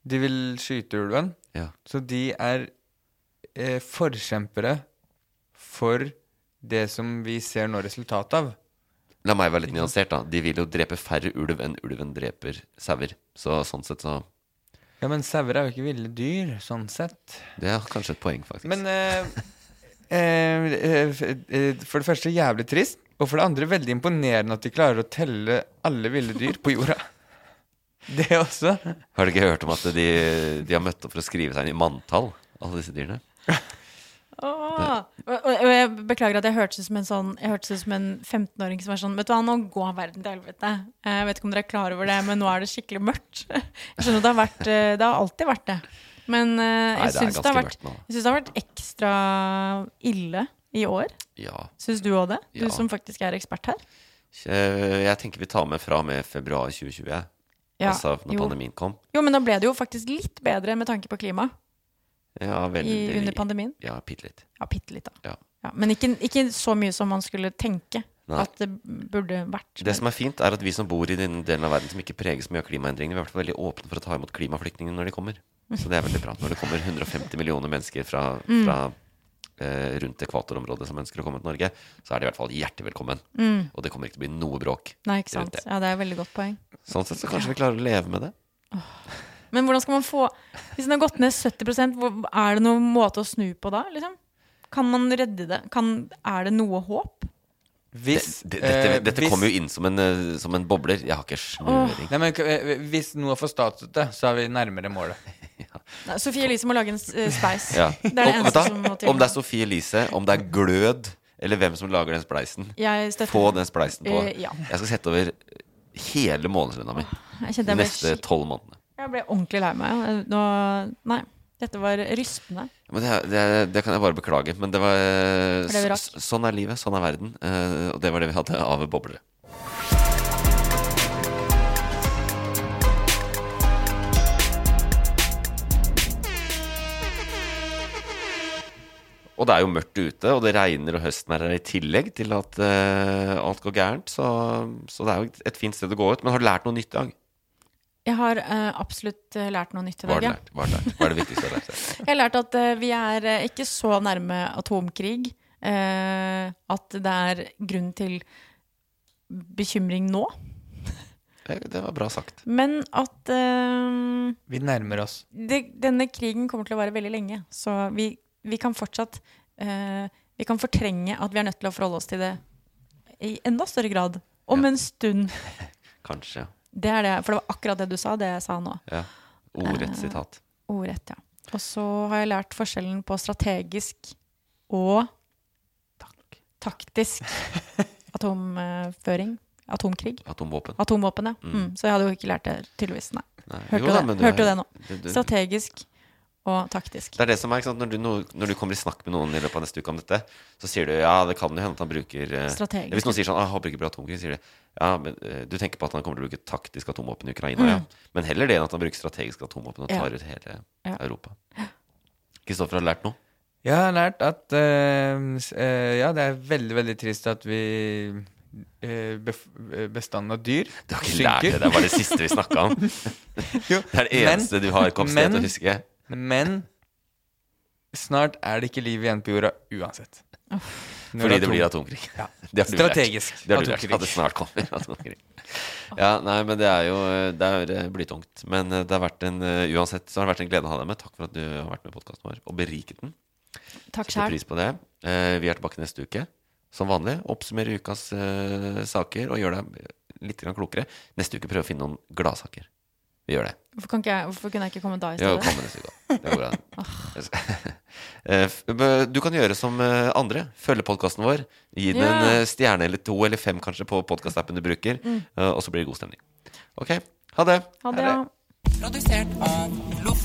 De vil skyte ulven.
Ja.
Så de er eh, forkjempere for det som vi ser nå resultatet av.
La meg være litt nyansert, da. De vil jo drepe færre ulv enn ulven dreper sauer. Så sånn sett så
Ja, men sauer er jo ikke ville dyr, sånn sett.
Det er kanskje et poeng, faktisk.
Men eh, eh, eh, eh, For det første jævlig trist, og for det andre veldig imponerende at de klarer å telle alle ville dyr på jorda. [LAUGHS] Det også.
Har du ikke hørt om at de, de har møtt opp for å skrive seg inn i manntall, alle disse dyrene?
Åh, og, og og jeg beklager at jeg hørtes ut som en sånn Jeg hørtes ut som en 15-åring som er sånn Vet du hva, nå går verden til helvete. Jeg vet ikke om dere er klar over det, men nå er det skikkelig mørkt. [LAUGHS] Jeg skjønner at det har vært eh, Det har alltid vært det. Men eh,
Nei,
jeg
det er
syns det, har
ganske
vært-
mørkt nå.
jeg syns det har vært ekstra ille i år.
Ja.
Syns du òg det? Du
Ja.
som faktisk er ekspert her.
Eh, Jeg tenker vi tar med fra og med februar 2020, jeg.
Ja,
altså når
jo.
pandemien kom.
Jo, men da ble det jo faktisk litt bedre med tanke på klima
Ja, veldig,
i, under pandemien.
Ja, bitte litt.
Ja, bitte litt, da.
Ja.
Ja, men ikke, ikke så mye som man skulle tenke.
Nei.
at det burde vært.
Det som er fint, er at vi som bor i den delen av verden som ikke preges mye av klimaendringene, vi er i hvert fall veldig åpne for å ta imot klimaflyktningene når de kommer. Så det er veldig bra. Når det kommer 150 millioner mennesker fra,
Mm.
fra eh, rundt ekvatorområdet som ønsker å komme til Norge, så er de i hvert fall hjertelig velkommen.
Mm.
Og det kommer ikke til å bli noe bråk.
Nei, ikke sant. Ja, det er et veldig godt poeng.
Sånn sett så kanskje vi klarer å leve med det.
Men hvordan skal man få Hvis den har gått ned 70 hvor- er det noen måte å snu på da? Liksom? Kan man redde det? Kan, er det noe håp?
Hvis,
det, det, dette
eh,
dette
hvis-
kommer jo inn som en, eh, som en bobler. Jeg har ikke snøring.
Nei, men k- eh, Hvis noe får statsstøtte, så er vi nærmere målet.
Nei, Sofie Elise må lage en s- eh, spleis.
Ja.
Det er det
Om- vet
eneste
du
som
hva?
må til.
Om det er Sofie Elise, om det er Glød, eller hvem som lager den spleisen.
Jeg støtter-
Få den spleisen på.
Eh, ja.
Jeg skal sette over hele månedslønna mi.
jeg kjente jeg
de
ble
neste
skik-
tolv månedene.
Jeg ble ordentlig lei meg. Eh, Nå, nei, dette var rystende.
Men det, er- det, er- det kan jeg bare beklage. Men det var, eh,
For det vi rakk.
s- sånn er livet, sånn er verden. eh, Og det var det vi hadde av boblere. Og det er jo mørkt ute, og det regner og høsten er her i tillegg til at eh, alt går gærent. Så, så det er jo et fint sted å gå ut. Men har du lært noe nytt i dag?
Jeg har eh, absolutt eh, lært noe nytt i
Hva har
dag.
du lært?
ja.
Hva har du lært? Hva er det viktigste du har lært?
Jeg har lært at eh, vi er eh, ikke så nærme atomkrig. eh, at det er grunn til bekymring nå.
[LAUGHS] Det, det var bra sagt.
Men at eh,
Vi nærmer oss.
det, denne krigen kommer til å vare veldig lenge. Så vi, vi kan fortsatt eh, Vi kan fortrenge at vi er nødt til å forholde oss til det i enda større grad. Om en stund.
Kanskje.
Det er det, for det var akkurat det du sa, det jeg sa nå.
Ja. Ordrett sitat.
Ordrett, ja. Og så har jeg lært forskjellen på strategisk og
[LAUGHS]
taktisk atomføring. Atomkrig.
Atomvåpen.
Atomvåpen, ja.
Mm.
Mm. Så jeg hadde jo ikke lært det, tydeligvis. Nei.
Nei.
Hørte,
Jo
du
da,
det?
men du
Hørte
er-
du det nå?
du- du-
Strategisk og taktisk.
Det er det som er, ikke sant? Når, du, når- når du kommer i snakk med noen i løpet av neste uke om dette, så sier du ja, det kan jo hende at han bruker eh,
Strategisk.
Hvis noen sier sånn ah, han bruker atomkrig, sier de ja, men eh, du tenker på at han kommer til å bruke taktisk atomvåpen i Ukraina,
Mm.
ja. Men heller det enn at han bruker strategisk atomvåpen og
Ja.
tar ut hele
Ja.
Europa. Kristoffer, har du lært noe?
Jeg har lært at eh, s- eh, Ja, det er veldig, veldig trist at vi eh, bef- eh, Bestanden av dyr synker. Du har
ikke lært
[LAUGHS]
det, det er bare det siste vi snakket om. Det er det eneste du har kapasitet til å huske.
Men snart er det ikke liv igjen på jorda uansett. Når
Fordi det
atom-
blir atomkrig.
Ja.
[LAUGHS] Det har du lært.
Strategisk
Det har du
atomkrig.
lært. At det snart kommer [LAUGHS] atomkrig. Ja, nei, men det er jo Det er eh, blytungt. Men eh, det har vært en eh, uansett så har det vært en glede å ha deg med. Takk for at du har vært med i podkasten vår og beriket den.
Takk
Setter
selv.
pris på det. Eh, Vi er tilbake neste uke som vanlig. Oppsummere ukas eh, saker og gjøre deg litt grann klokere. Neste uke prøve å finne noen gladsaker. Vi gjør det.
Hvorfor, kan ikke jeg, hvorfor kunne jeg ikke komme da i
Ja,
stedet?
kom med neste uke, da. Det går an.
[LAUGHS]
[LAUGHS] Eh, f- b- Du kan gjøre som eh, andre. Følge podkasten vår. Gi den en
Ja.
eh, stjerne eller to eller fem kanskje på podkastappen du bruker,
Mm.
eh, og så blir det god stemning. Ok, ha det.
Ha det. Ja.
Produsert av Loff.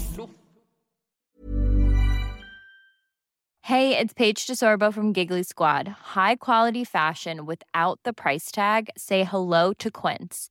Hey, it's Paige DeSorbo from Giggly Squad. High quality fashion without the price tag. Say hello to Quince.